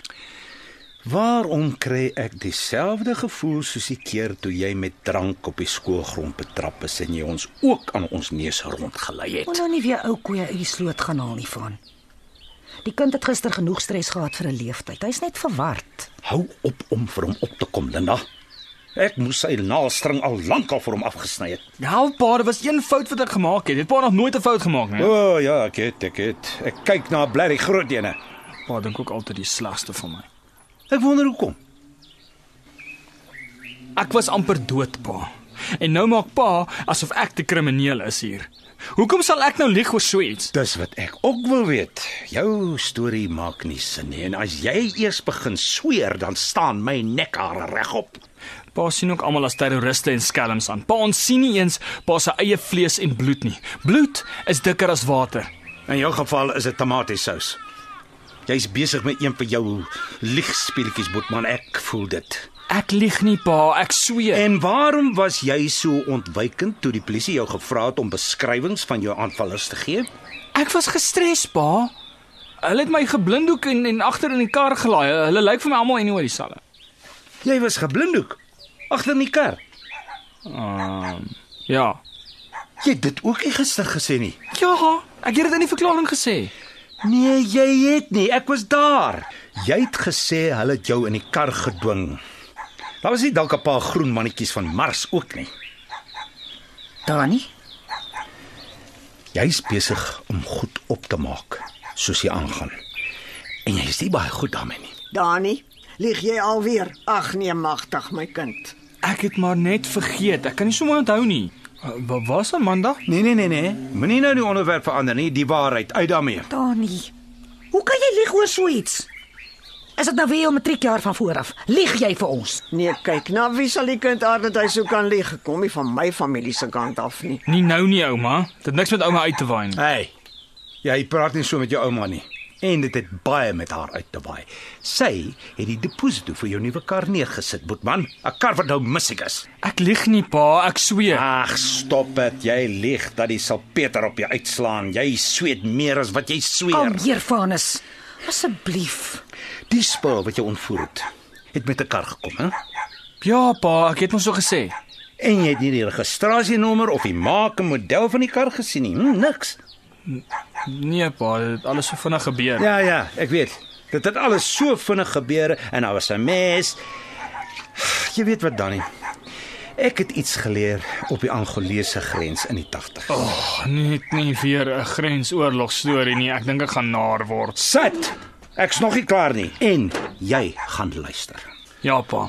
Waarom kry ek dieselfde gevoel soos die keer toe jy met drank op die skoolgrond betrap is en jy ons ook aan ons neus rondgelei
Moet
het?
nou nie weer ou koeie uit die sloot gaan haal nie van. Die kind het gister genoeg stres gehad vir 'n leeftyd. Hy's net verward.
Hou op om vir hom op te kom, Linda. Ek moes sy naaldstring al lank al vir hom afgesny het.
Help, Ja, pa, daar was een fout wat ek gemaak het. Het pa nog nooit 'n fout gemaak nie?
O oh, ja, ek het, ek het. Ek kyk na 'n blerrie groot ene.
Pa dink ook altyd die slegste van my.
Ek wonder hoekom.
Ek was amper dood, pa. En nou maak pa asof ek die krimineel is hier. Hoekom sal ek nou lieg oor so iets?
Dis wat ek ook wil weet. Jou storie maak nie sin nie en as jy eers begin sweer, dan staan my nekhare regop.
Pa sien ook almal as terroriste en skelms aan. Pa ons sien nie eens pa se eie vlees en bloed nie. Bloed is dikker as water.
In jou geval is dit tomatiesous. Jy's besig met een van jou liegspeletjies, Boetman. Ek voel dit.
Ek lieg nie, pa, ek sweer.
En waarom was jy so ontwykend toe die polisie jou gevra het om beskrywings van jou aanvallers te gee?
Ek was gestres, pa. Hulle het my geblinddoek en en agter in die kar gelaai. Hulle lyk vir my almal anyway dieselfde.
Jy was geblinddoek agter in die kar.
Ehm um, ja.
Jy het dit ook nie gister gesê nie.
Ja, ek het dit in die verklaring gesê.
Nee, jy het nie. Ek was daar. Jy het gesê hulle het jou in die kar gedwing. Daar was nie dalk 'n paar groen mannetjies van Mars ook nie.
Dani,
Jy's besig om goed op te maak soos jy aangaan. En jy is nie baie goed daarmee nie.
Dani, lieg jy alweer? Ag nee, magtig my kind.
Ek het maar net vergeet. Ek kan nie sommer onthou nie. Uh, wa- was dit Maandag?
Nee, nee, nee, nee. Moenie nou die onderwerp verander nie. Die waarheid uit daarmee.
Dani. Hoe kan jy lieg oor so iets? Is dit nou weer jou matriekjaar van vooraf? Lieg jy vir ons?
Nee, kyk, na wie sal die kind aard dat hy so kan lieg? Kom nie van my familie se kant af nie.
Nie nou nie, ouma. Dit niks met ouma uit te waai nie.
Hey. Jy praat nie so met jou ouma nie. en dit het baie met haar uit te waai. Sy het die deposito vir jou nuwe kar neergesit, Boetman, 'n kar wat nou missig is.
Ek lieg nie, pa, ek sweer.
Ag, stop dit. Jy lieg dat die salpeter op jou uitslaan. Jy sweet meer as wat jy sweer.
Kom hier, Vanus. Asseblief.
Die spul wat jy ontvoer het, het met 'n kar gekom, hè?
Ja, pa, ek het mos so gesê.
En jy het nie die registrasienommer of die maak en model van die kar gesien nie. Hm, niks.
Nee, pa, dit het alles so vinnig gebeur.
Ja ja, ek weet. Dit het alles so vinnig gebeur en daar was 'n mes. Jy weet wat dan nie. Ek het iets geleer op die Angolese grens in die 80. Oh.
Oh, net nie weer 'n grensoorlog storie nie. Ek dink ek gaan naar word.
Sit. Ek's nog nie klaar nie. En jy gaan luister.
Ja, pa.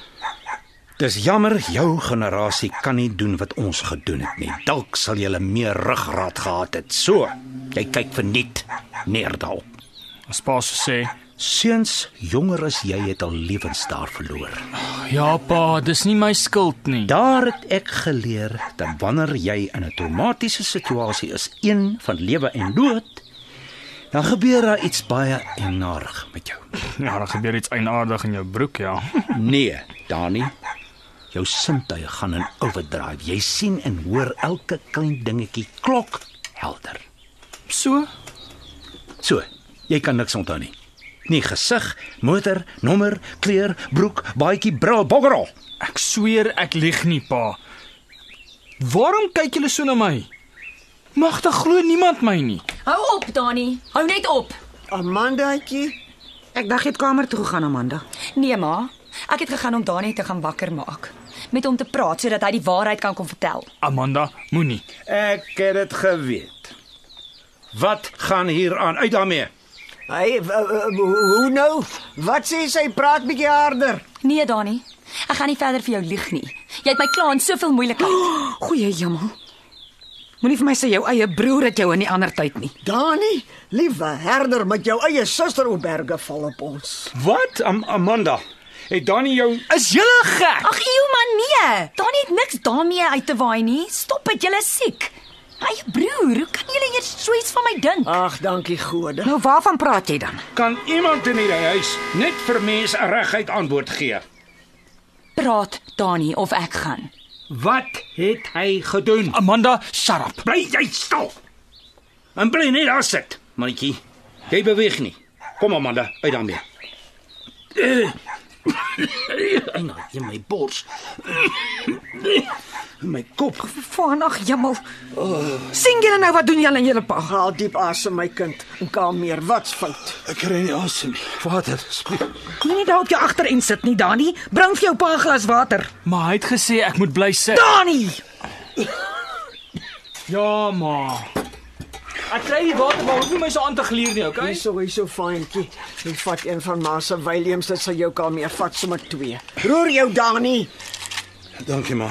Dis jammer jou generasie kan nie doen wat ons gedoen het nie. Dalk sal julle meer ruggraat gehad het. So, jy kyk verniet neer daarop.
As pa so sê.
Seuns jonger as jy het al lewens daar verloor.
Ja, pa, dis nie my skuld nie.
Daar het ek geleer dat wanneer jy in 'n traumatiese situasie is, een van lewe en dood, dan gebeur daar iets baie enarig met jou.
Ja, daar gebeur iets eienaardig in jou broek, ja.
Nee, Dani. Jou sintuie gaan in overdrive. Jy sien en hoor elke klein dingetjie klok helder.
So?
So, jy kan niks onthou nie. Nie gesig, motor, nommer, kleur, broek, baadjie, bril, boggerol.
Ek sweer ek lieg nie, pa. Waarom kyk julle so na my? Magtig glo niemand my nie.
Hou op, Dani. Hou net op.
Amandaatjie,
Ek dink jy het kamer toe gegaan, Amanda.
Nee, ma. Ek het gegaan om Dani te gaan wakker maak, met hom te praat sodat hy die waarheid kan kom vertel.
Amanda, moenie.
Ek het dit geweet. Wat gaan hier aan? Uit daarmee.
hy w- w- hoe nou? Wat sê sy? Praat bietjie harder.
Nee, Dani. Ek gaan nie verder vir jou lieg nie. Jy het my kla in soveel moeilikheid.
Goeie jemmel. Moenie vir my sê jou eie broer het jou in die ander tyd nie.
Dani, liewe herder met jou eie suster Oberge val op ons.
Wat? Am Amanda, het Dani jou
Is julle gek?
Ag, eeu man, nee. Dani het niks daarmee uit te waai nie. Stop dit, julle is siek. Hy broer, hoe kan julle eers so iets van my dink?
Ag, dankie gode.
Nou waarvan praat jy dan?
kan iemand in hierdie huis net vir mense 'n reguit antwoord gee.
Praat, Dani, of ek gaan.
Wat het hy gedoen?
Amanda, shut up.
Bly jy stil. En bly net daar sit, mannetjie. Jy beweeg nie. Kom Amanda, uit daarmee. Eh. Nou, jy my bors. My kop.
Vanag jemmel. Sien julle nou wat doen julle aan julle pa?
Haal diep asem my kind en kalm meer. Wat's fout?
Ek kry nie asem nie. Vader, spreek.
Moenie daar op jou agter in sit nie, Dani. Bring vir jou pa 'n glas water.
Maar hy het gesê ek moet bly sit.
Dani,
Ja, ma. Ek kry die water, maar hoef nie my so aan te gluur nie, okay?
Dis so is so fyntjie. Jy vat een van ma se Williams, dit sal jou kalm meer. Vat sommer twee. Roer jou Dani.
Dankie ma.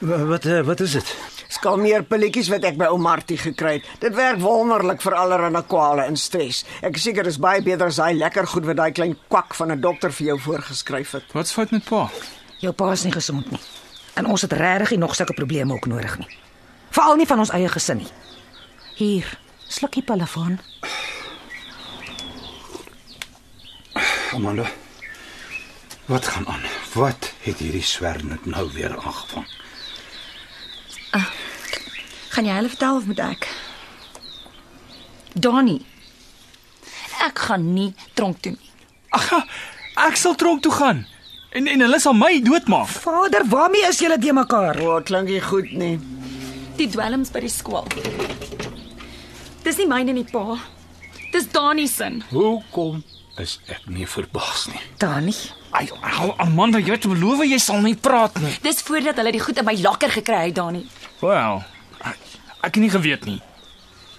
Wa- Wat eh, wat is dit?
Skalmeer pilletjies wat ek by ou Martie gekry het. Dit werk wonderlik vir allerlei kwale en stres. Ek is seker is baie beter as daai lekker goed wat daai klein kwak van 'n dokter vir jou voorgeskryf het.
Wat's fout met pa?
jou pa is nie gesond nie. En ons het regtig nie nog sulke probleme ook nodig nie. Veral nie van ons eie gesin nie. Hier, sluk die pille van.
Amanda. Wat gaan aan? Wat het hierdie swernit nou weer aangevang?
Gaan jy hulle vertel of moet ek? Donnie. Ek gaan nie tronk toe nie.
Ag, ja, ek sal tronk toe gaan. En en hulle sal my doodmaak.
Vader, waarmee is julle te mekaar?
O, oh, klink nie goed nie.
Die dwelms by die skool. Dis nie myne nie, pa. Dis Donnie se.
Hoekom is ek nie verbaas nie?
Dani,
Ai, au, Amanda, jy het beloof jy sal nie praat nie.
Dis voordat hulle die goed in my lakker gekry het, Donnie.
Wel, ek, ek het nie geweet nie.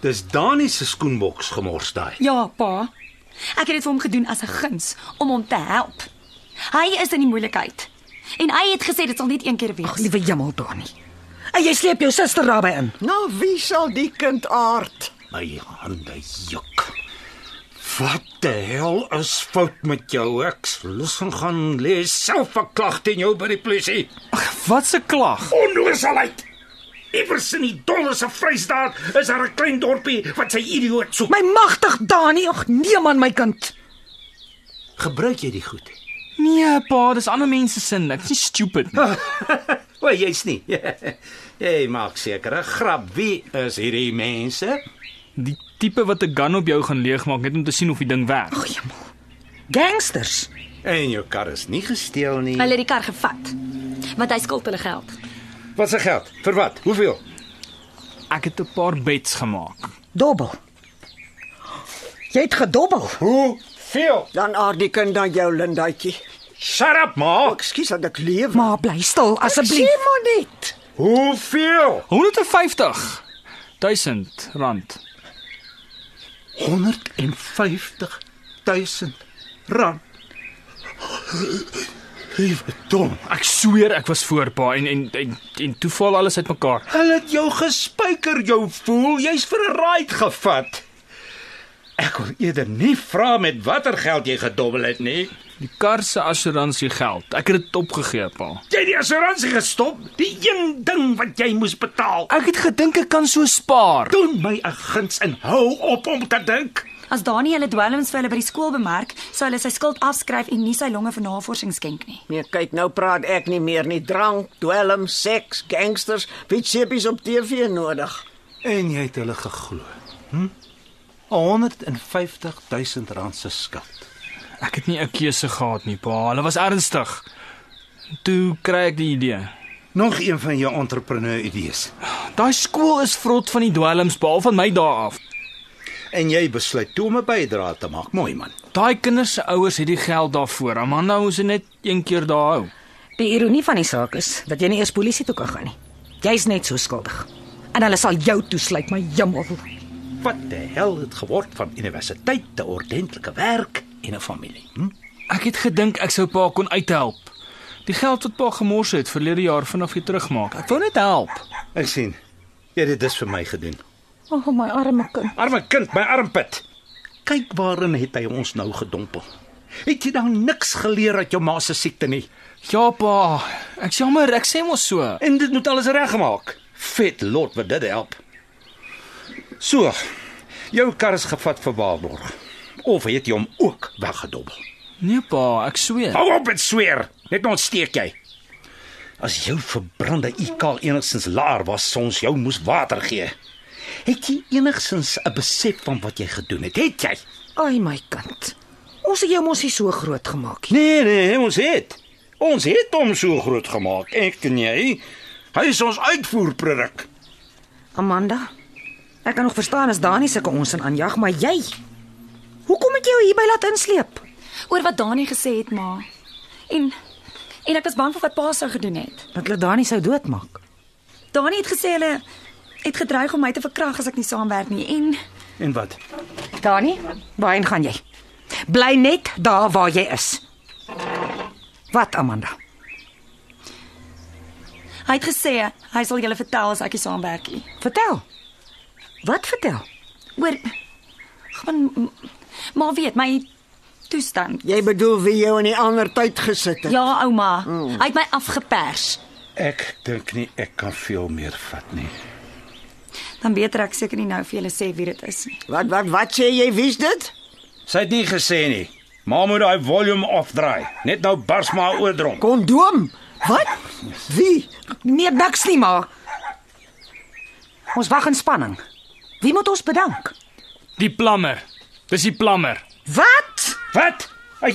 Dis Dani se skoenboks gemors daai.
Ja, pa. Ek het dit vir hom gedoen as 'n guns om hom te help. Hy is in die moeilikheid. En hy het gesê dit sal net een keer wees.
liewe jemmel Dani. En jy sleep jou suster daarbey in.
Nou, wie sal die kind aard?
My hande juk. Wat die hel is fout met jou? Ek los hom gaan lees self 'n klag teen jou by die polisie.
Wat 'n klag.
Onnoosheid. Iewers in die dolle se Vrystaat is daar 'n klein dorpie wat sy idioot soek.
My magtig Dani, ag nee man my kind.
Gebruik jy die goed?
Nee, pa, dis ander mense sin. Ek's nie stupid nie.
O, jy's nie. jy maak seker 'n grap. Wie is hierdie mense?
Die tipe wat 'n gun op jou gaan leegmaak net om te sien of die ding werk.
Gangsters.
En jou kar is nie gesteel nie.
Hulle het die kar gevat. Want hy skuld hulle geld.
Wat se geld? Vir wat? Hoeveel?
Ek het 'n paar bets gemaak.
Dobbel. Jy het gedobbel.
Hoeveel?
Dan aard die kind dan jou Lindaatjie.
Shut up, ma.
Ekskuus dat ek leef.
Ma bly stil asseblief.
Sê maar net.
Hoeveel?
150 000 rand.
150 000 rand. Liewe dom.
Ek sweer ek was voor pa en en en, en toe val alles uitmekaar.
Hulle het jou gespyker, jou fool. Jy's vir 'n ride gevat. Ek wil eerder nie vra met watter geld jy gedobbel het nie.
Die kar se assuransie geld. Ek het dit opgegee, pa.
Jy het die assuransie gestop, die een ding wat jy moes betaal.
Ek het gedink ek kan so spaar.
Doen my 'n guns en hou op om te dink.
As Dani hulle dwelms vir hulle by die skool bemerk, sou hulle sy skuld afskryf en nie sy longe vir navorsing skenk nie.
Nee, kyk nou praat ek nie meer nie. Drank, dwelm, seks, gangsters, wie seppies op TV nodig.
En jy het hulle geglo. Hm? 150 000 rand se skuld.
Ek het nie 'n keuse gehad nie, pa. Hulle was ernstig. Toe kry ek die idee.
Nog een van jou entrepreneur idees.
Daai skool is vrot van die dwelms behalwe van my dae af.
En jy besluit toe om 'n bydrae te maak, mooi man.
Daai kinders se ouers het die geld daarvoor. Amanda moes dit net een keer daar hou.
Die ironie van die saak is dat jy nie eers polisie toe kan gaan nie. Jy's net so skuldig. En hulle sal jou toesluit, my hemel.
Wat die hel het geword van universiteit, 'n ordentlike werk en 'n familie. Hm?
Ek het gedink ek sou pa kon uithelp. Die geld wat pa gemors het verlede jaar vanaf weer terugmaak. Ek wou net help.
Ek sien. Jy het dit dus vir my gedoen.
O oh, my arme kind.
Arme kind, my armpit. Kyk waarin het hy ons nou gedompel. Het jy dan niks geleer uit jou ma se siekte nie?
Ja pa, ek sê maar ek sê mos so.
En dit moet alles reggemaak. Vet lot wat dit help. So, jou kar is gevat vir waarborg. Of het jy hom ook weggedobbel?
Nee pa, ek sweer.
Hou op met sweer. Net nou ontsteek jy. As jou verbrande IQ enigstens laer was, sou ons jou moes water gee. Het jy enigstens 'n besef van wat jy gedoen het? Het jy?
Ai my kind. Ons het jou mos nie so groot gemaak nie.
Nee nee, ons het. Ons het hom so groot gemaak. Ek en jy. Hy is ons uitvoerproduk.
Amanda. Ek kan nog verstaan as Dani sulke ons in aanjag, maar jy. Hoekom het jy jou hierby laat insleep?
Oor wat Dani gesê het, ma. En en ek was bang vir wat pa sou gedoen het.
Dat hulle Dani sou doodmaak.
Dani het gesê hulle het gedreig om my te verkrag as ek nie saamwerk nie en
En wat?
Dani, waarheen gaan jy? Bly net daar waar jy is. Wat Amanda?
hy het gesê hy sal julle vertel as ek nie saamwerk nie.
Vertel. Wat vertel?
Oor gaan maar weet my toestand.
Jy bedoel wie jou in die ander tyd gesit het.
Ja, ouma. Mm. Hy het my afgepers.
Ek dink nie ek kan veel meer vat nie.
Dan beter ek seker nie nou vir julle sê wie dit is nie.
Wat wat wat sê jy wie's dit?
Sy het nie gesê nie. Maar moet daai volume afdraai. Net nou bars maar oordrom.
Kondoom. Wat? Wie?
Nee, niks nie maar. Ons wag in spanning. Wie moet ons bedank?
Die plammer. Dis die plammer.
Wat?
Wat? Ai,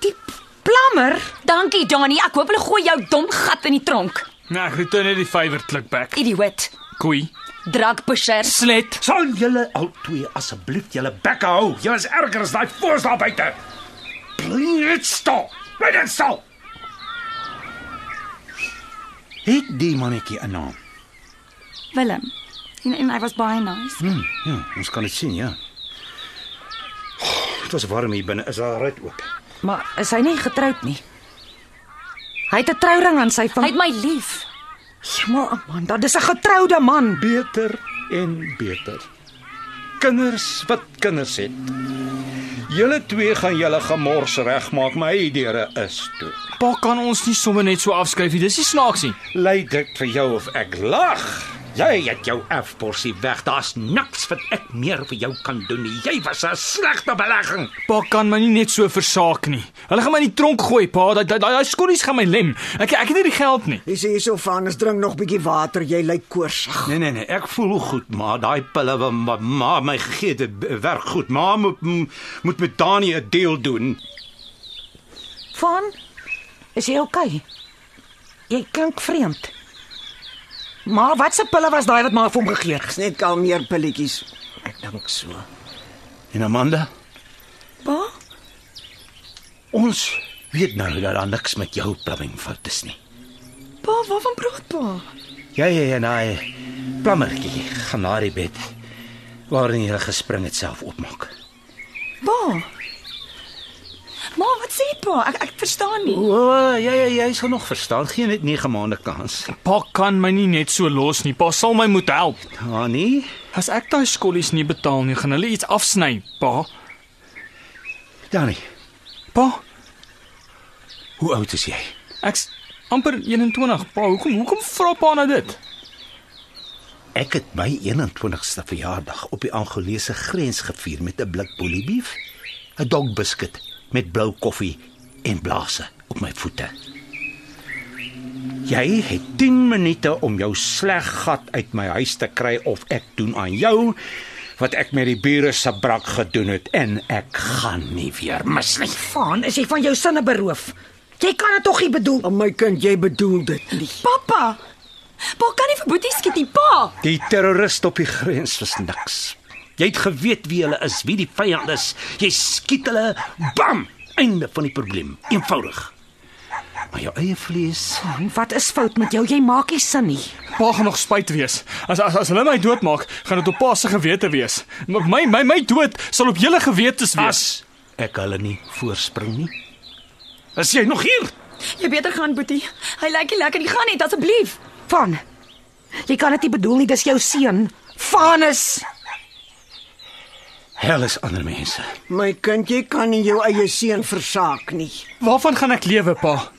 Die plammer?
Dankie, Dani. Ek hoop hulle gooi jou dom gat in die tronk.
Nee, ek het net die vywer klikback.
Idioot.
Koei.
Drugpusher.
Slet.
sal julle al twee asseblief julle bekke hou. Julle is erger as daai voors daar buite. Bly net stil. Bly net stil. Het die mannetjie 'n naam?
Willem. En, en hy was baie nice. Hmm.
Ja, ons kan dit sien, ja. Oh, Dit was warm hier binne. Is daar ruit oop?
Maar is hy nie getroud nie? Hy het 'n trouring aan sy
Hy
vinger.
het my lief.
Maar Amanda, dis 'n getroude man.
beter en beter. Kinders wat kinders het. Julle twee gaan julle gemors regmaak, my deure is toe.
Pa kan ons nie sommer net so afskryf nie. Dis nie snaaks nie.
Lei dit vir jou of ek lag. Jy het jou afporsie weg. Daar's niks wat ek meer vir jou kan doen nie. Jy was 'n slegte belegging.
Pa kan my nie net so versaak nie. Hulle gaan my in die tronk gooi, pa. Daai daai- daai skotties gaan my lem. Ek ek het nie die geld nie.
Dis hierso van, ons drink nog bietjie water. Jy lyk koorsig.
Nee nee nee, ek voel goed, maar daai pille wat ma, ma my gegee het, dit werk goed. Ma moet moet met Dani 'n deal doen.
Van? Is jy okay? Jy klink vreemd. Maar wat se pille was daai wat maar vir hom gegee het?
Dis net kalmeer pilletjies. Ek dink so.
En Amanda,
Pa?
ons weet nou dat daar niks met jou plumbingfout is nie.
Pa, waarvan praat pa?
Jy en hy plummertjie gaan na die bed waarin jy gespring het self opmaak.
Pa. Ma, wat sê pa? Ek ek verstaan nie.
O, ja ja, jy sal nog verstaan. Geen net 9 maande kans.
Pa kan my nie net so los nie. Pa sal my moet help.
Dani,
As ek daai skotties nie betaal nie, gaan hulle iets afsny, pa.
Dani,
Pa,
hoe oud is jy?
ek's amper 21. Pa, hoekom hoekom vra pa na dit?
Ek het my 21ste verjaardag op die Angolese grens gevier met 'n blik boeliebief, 'n dog biscuit met blou koffie en blaase op my voete. Jy het 10 minute om jou sleg gat uit my huis te kry of ek doen aan jou wat ek met die bure se brak gedoen het en ek gaan nie weer mis nie.
Van, is jy van jou sinne beroof? Jy kan dit tog nie bedoel. Oh,
Aan my kind, jy bedoel dit nie.
Pappa. Pa kan nie vir Boetie skiet nie, pa.
Die terrorist op die grens was niks. Jy het geweet wie hulle is, wie die vyand is. Jy skiet hulle, bam, einde van die probleem. Eenvoudig. Maar jou eie vlees,
Wat is fout met jou? Jy maak nie sin nie.
Pa gaan nog spyt wees. As as as hulle my doodmaak, gaan dit op pa se gewete wees. Maar My my my dood sal op julle gewetes
as
wees.
ek hulle nie voorspring nie. Is jy nog hier?
Jy beter gaan Boetie. Hy lyk nie lekker nie. Gaan net asseblief.
Van. Jy kan dit nie bedoel nie, dis jou seun. Vanus.
Hel is ander mense.
My kind, jy kan nie jou eie seun versaak nie.
Waarvan gaan ek lewe, pa?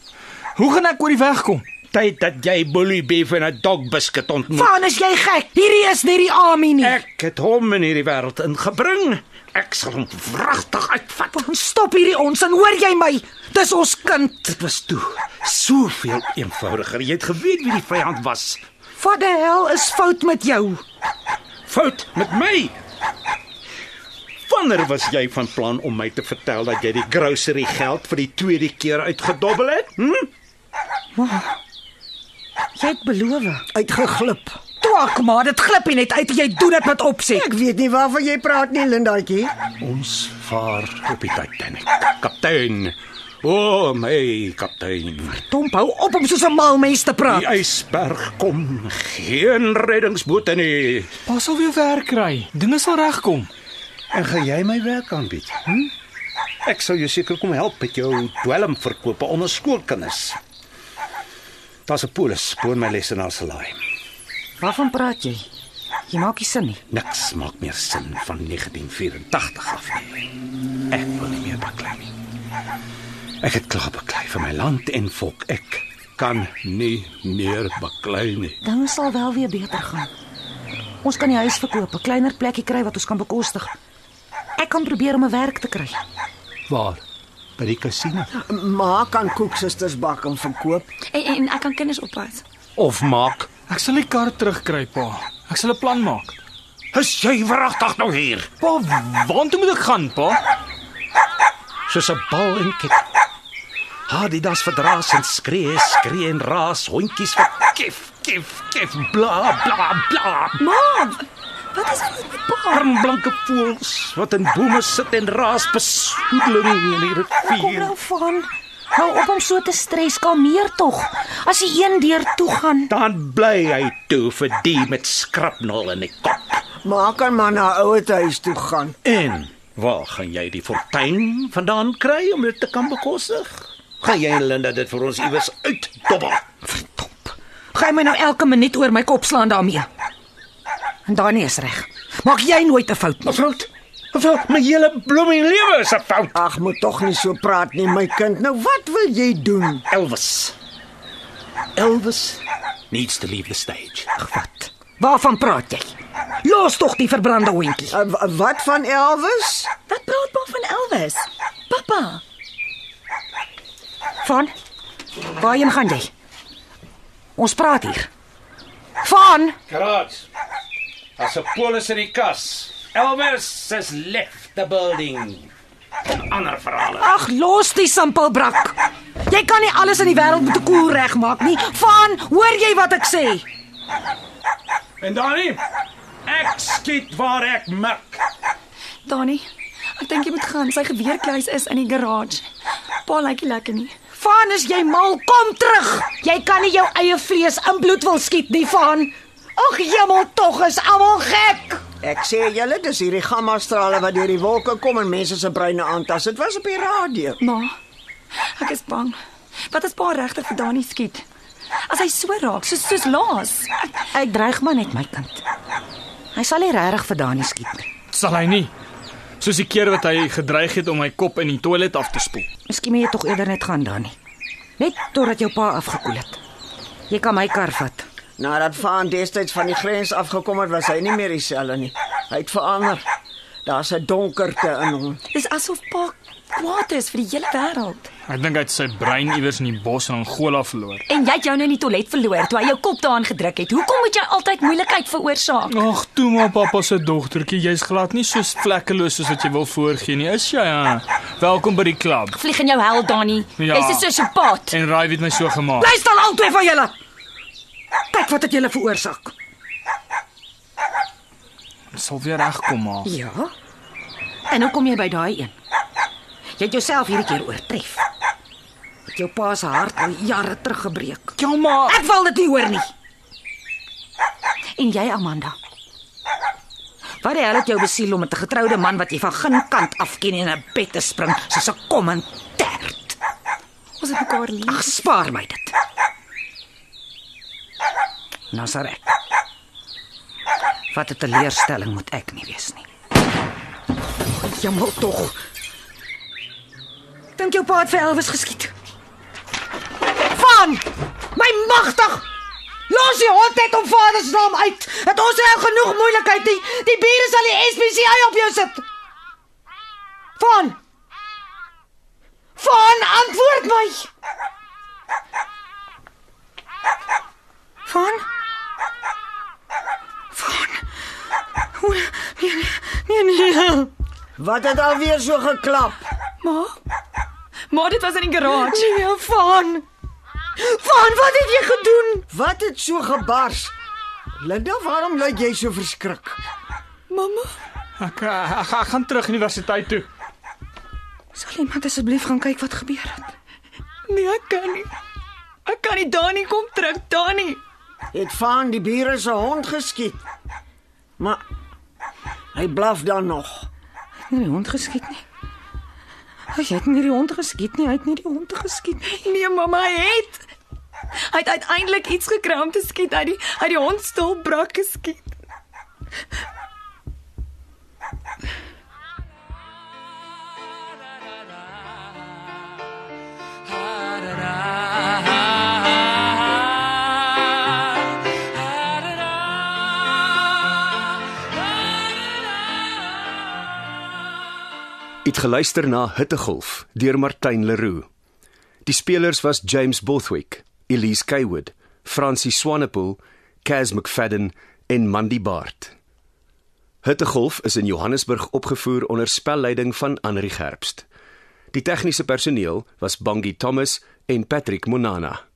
Hoe gaan ek oor die weg kom?
Tyd dat jy Bully Beef en 'n dog biscuit ontmoet.
Vanus, jy gek. Hierdie is nie die Ami nie.
Ek het hom in hierdie wêreld ingebring. Ek sal hom wragtig uitvat.
Van, Stop hierdie onsin. Hoor jy my? Dis ons kind.
Dit was toe soveel eenvoudiger. Jy het geweet wie die vyand was.
Wat die hel is fout met jou?
Fout met my. Wanneer was jy van plan om my te vertel dat jy die grocery geld vir die tweede keer uitgedobbel het? Hm?
Jy het beloof.
Uitgeglip.
Twak maar, dit glip nie net uit. Jy doen dit met opset.
Ek weet nie waarvan jy praat nie, Lindaatjie.
Ons vaar op die Titanic. Kaptein. O, oh, my kaptein.
Domp hou op om soos 'n mal mens te praat.
Die ysberg kom geen reddingsboot in nie.
Pa sal weer werk kry. Dinge sal regkom.
En gaan jy my werk aanbied? Hm? Ek sal jou seker kom help met jou dwelmverkope onder skoolkinders. Daar's 'n polis bo in my lesenaar se laai.
Waarvan praat jy? Jy maak nie sin nie.
Niks maak meer sin van 1984 af nie. Ek wil nie meer baklei nie. Ek het klaar baklei vir my land en volk. Ek kan nie meer baklei nie.
Dinge sal wel weer beter gaan. Ons kan die huis verkoop, 'n kleiner plekkie kry wat ons kan bekostig. Ek kan probeer om 'n werk te kry.
Waar? By die kasino.
Ma kan koeksisters bak en verkoop.
En, en en ek kan kinders oppas.
Of maak.
Ek sal die kar terugkry, pa. Ek sal 'n plan maak.
Is jy wragtig nou hier?
Pa, waartoe moet ek gaan, pa?
Soos 'n bal en kik. Adidas verdraas en skree, skree en raas, hondjies wat kif, kif, kif, bla bla bla.
Ma, wat is dit met pa?
arm blanke voëls wat in bome sit en raas besoedeling in die
Kom
rivier.
nou van. Hou op om so te stres, kalmeer tog. As die een deur toe gaan,
Dan bly hy toe vir die met skrapnol in die kop.
Ma kan maar na ouer huis toe gaan.
En waar gaan jy die fortuin vandaan kry om dit te kan bekostig? Gaan jy en Linda dit vir ons iewers uitdobbel?
gaan jy my nou elke minuut oor my kop slaan daarmee. En Dani is reg. Maak jy nooit 'n fout nie.
Mevrou, mevrou, my hele bloemie lewe is 'n fout.
Ag, moet tog nie so praat nie, my kind. Nou wat wil jy doen?
Elvis. Elvis needs to leave the stage.
Ag wat. Waarvan praat jy? Los tog die verbrande hondjie.
Eh, Wat van Elvis?
Wat praat pa van Elvis? Pappa,
Van? Waarheen gaan jy? Ons praat hier. Van,
Kraats. As 'n polis in die kas. Elvis has left the building. Ander verhale.
ag los die simpelbrak. Jy kan nie alles in die wêreld met 'n koel regmaak nie. Van, hoor jy wat ek sê?
En Dani, ek skiet waar ek mik.
Dani, ek dink jy moet gaan. Sy geweerkluis is in die garage. Pa lyk nie lekker nie.
Van, is jy mal? Kom terug. Jy kan nie jou eie vlees in bloed wil skiet nie, Van. Ag, jemmel tog, is almal gek.
Ek sê julle, dis hierdie gamma strale wat deur die wolke kom en mense se breine aantas. Dit was op die radio.
Ma, ek is bang. Wat as pa regtig vir Dani skiet? As hy so raak, soos soos laas.
Ek dreig maar net my kind. Hy sal nie regtig vir Dani skiet nie.
Sal hy nie. Soos die keer wat hy gedreig het om my kop in die toilet af te spoel.
Miskien moet jy tog eerder net gaan, Dani. Net totdat jou pa afgekoel het. Jy kan my kar vat.
Nadat Van destyds van die grens afgekom het, was hy nie meer dieselfde nie. Hy het verander. Daar's 'n donkerte in hom.
Dis asof pa kwaad is vir die hele wêreld.
Ek dink hy het sy brein iewers in die bos in Angola verloor.
En jy het jou nou in die toilet verloor toe hy jou kop daarin gedruk het. Hoekom moet jy altyd moeilikheid veroorsaak?
Ag, toe maar pappa se dogtertjie, jy's glad nie so vlekkeloos soos wat jy wil voorgee nie, is jy? Hè? Welkom by die klub.
Vlieg in jou hel, Dani.
Ja.
Jy's 'n sosiopaat.
En raai wie het my so gemaak?
Luister al albei van julle. Kyk wat het julle veroorsaak.
Sal weer regkom maar.
Ja. En hoe kom jy by daai een? Jy het jouself hierdie keer oortref. Het jou pa se hart al jare terug gebreek.
Ja maar.
Ek wil dit nie hoor nie. En jy, Amanda. Wat die hel het jou besiel om met 'n getroude man wat jy van geen kant af ken in 'n bed te spring soos 'n kom en tert?
Ons het mekaar lief.
Ag, spaar my dit. Nou sal ek. Wat 'n teleurstelling moet ek nie wees nie. Jammer tog. Dink jou pa het vir Elvis geskiet. Van! My magtig! Los die hond net om vader se naam uit. Het ons nou genoeg moeilikheid nie. Die bure sal die SPCA op jou sit. Van! Van, antwoord my. Van?
Nee nee.
Wat het alweer so geklap?
Ma. Ma, dit was in die garage.
Nee, Van. Van, wat het jy gedoen?
Wat het so gebars? Linda, waarom lyk jy so verskrik?
Mamma,
Ek, eh, ek, ek gaan terug universiteit toe.
sal iemand asseblief gaan kyk wat gebeur het? Nee, ek kan nie. Ek kan nie Dani kom terug, Dani.
Het Van die bure se hond geskiet? Maar hy blaf dan nog.
Nie die hond geskiet nie. Hy het nie die hond geskiet nie. Hy het nie die hond geskiet nie.
Nee, mamma hy het. Hy het uiteindelik iets gekry om te skiet uit die uit die hond stil brak geskiet.
Het geluister na Hittegolf deur Martin Leroux. Die spelers was James Bothwick, Elise Kaywood, Francie Swanepoel, Kaz McFadden en Mandy Baard. Hittegolf is in Johannesburg opgevoer onder spelleiding van Anri Gerbst. Die tegniese personeel was Bangi Thomas en Patrick Monana.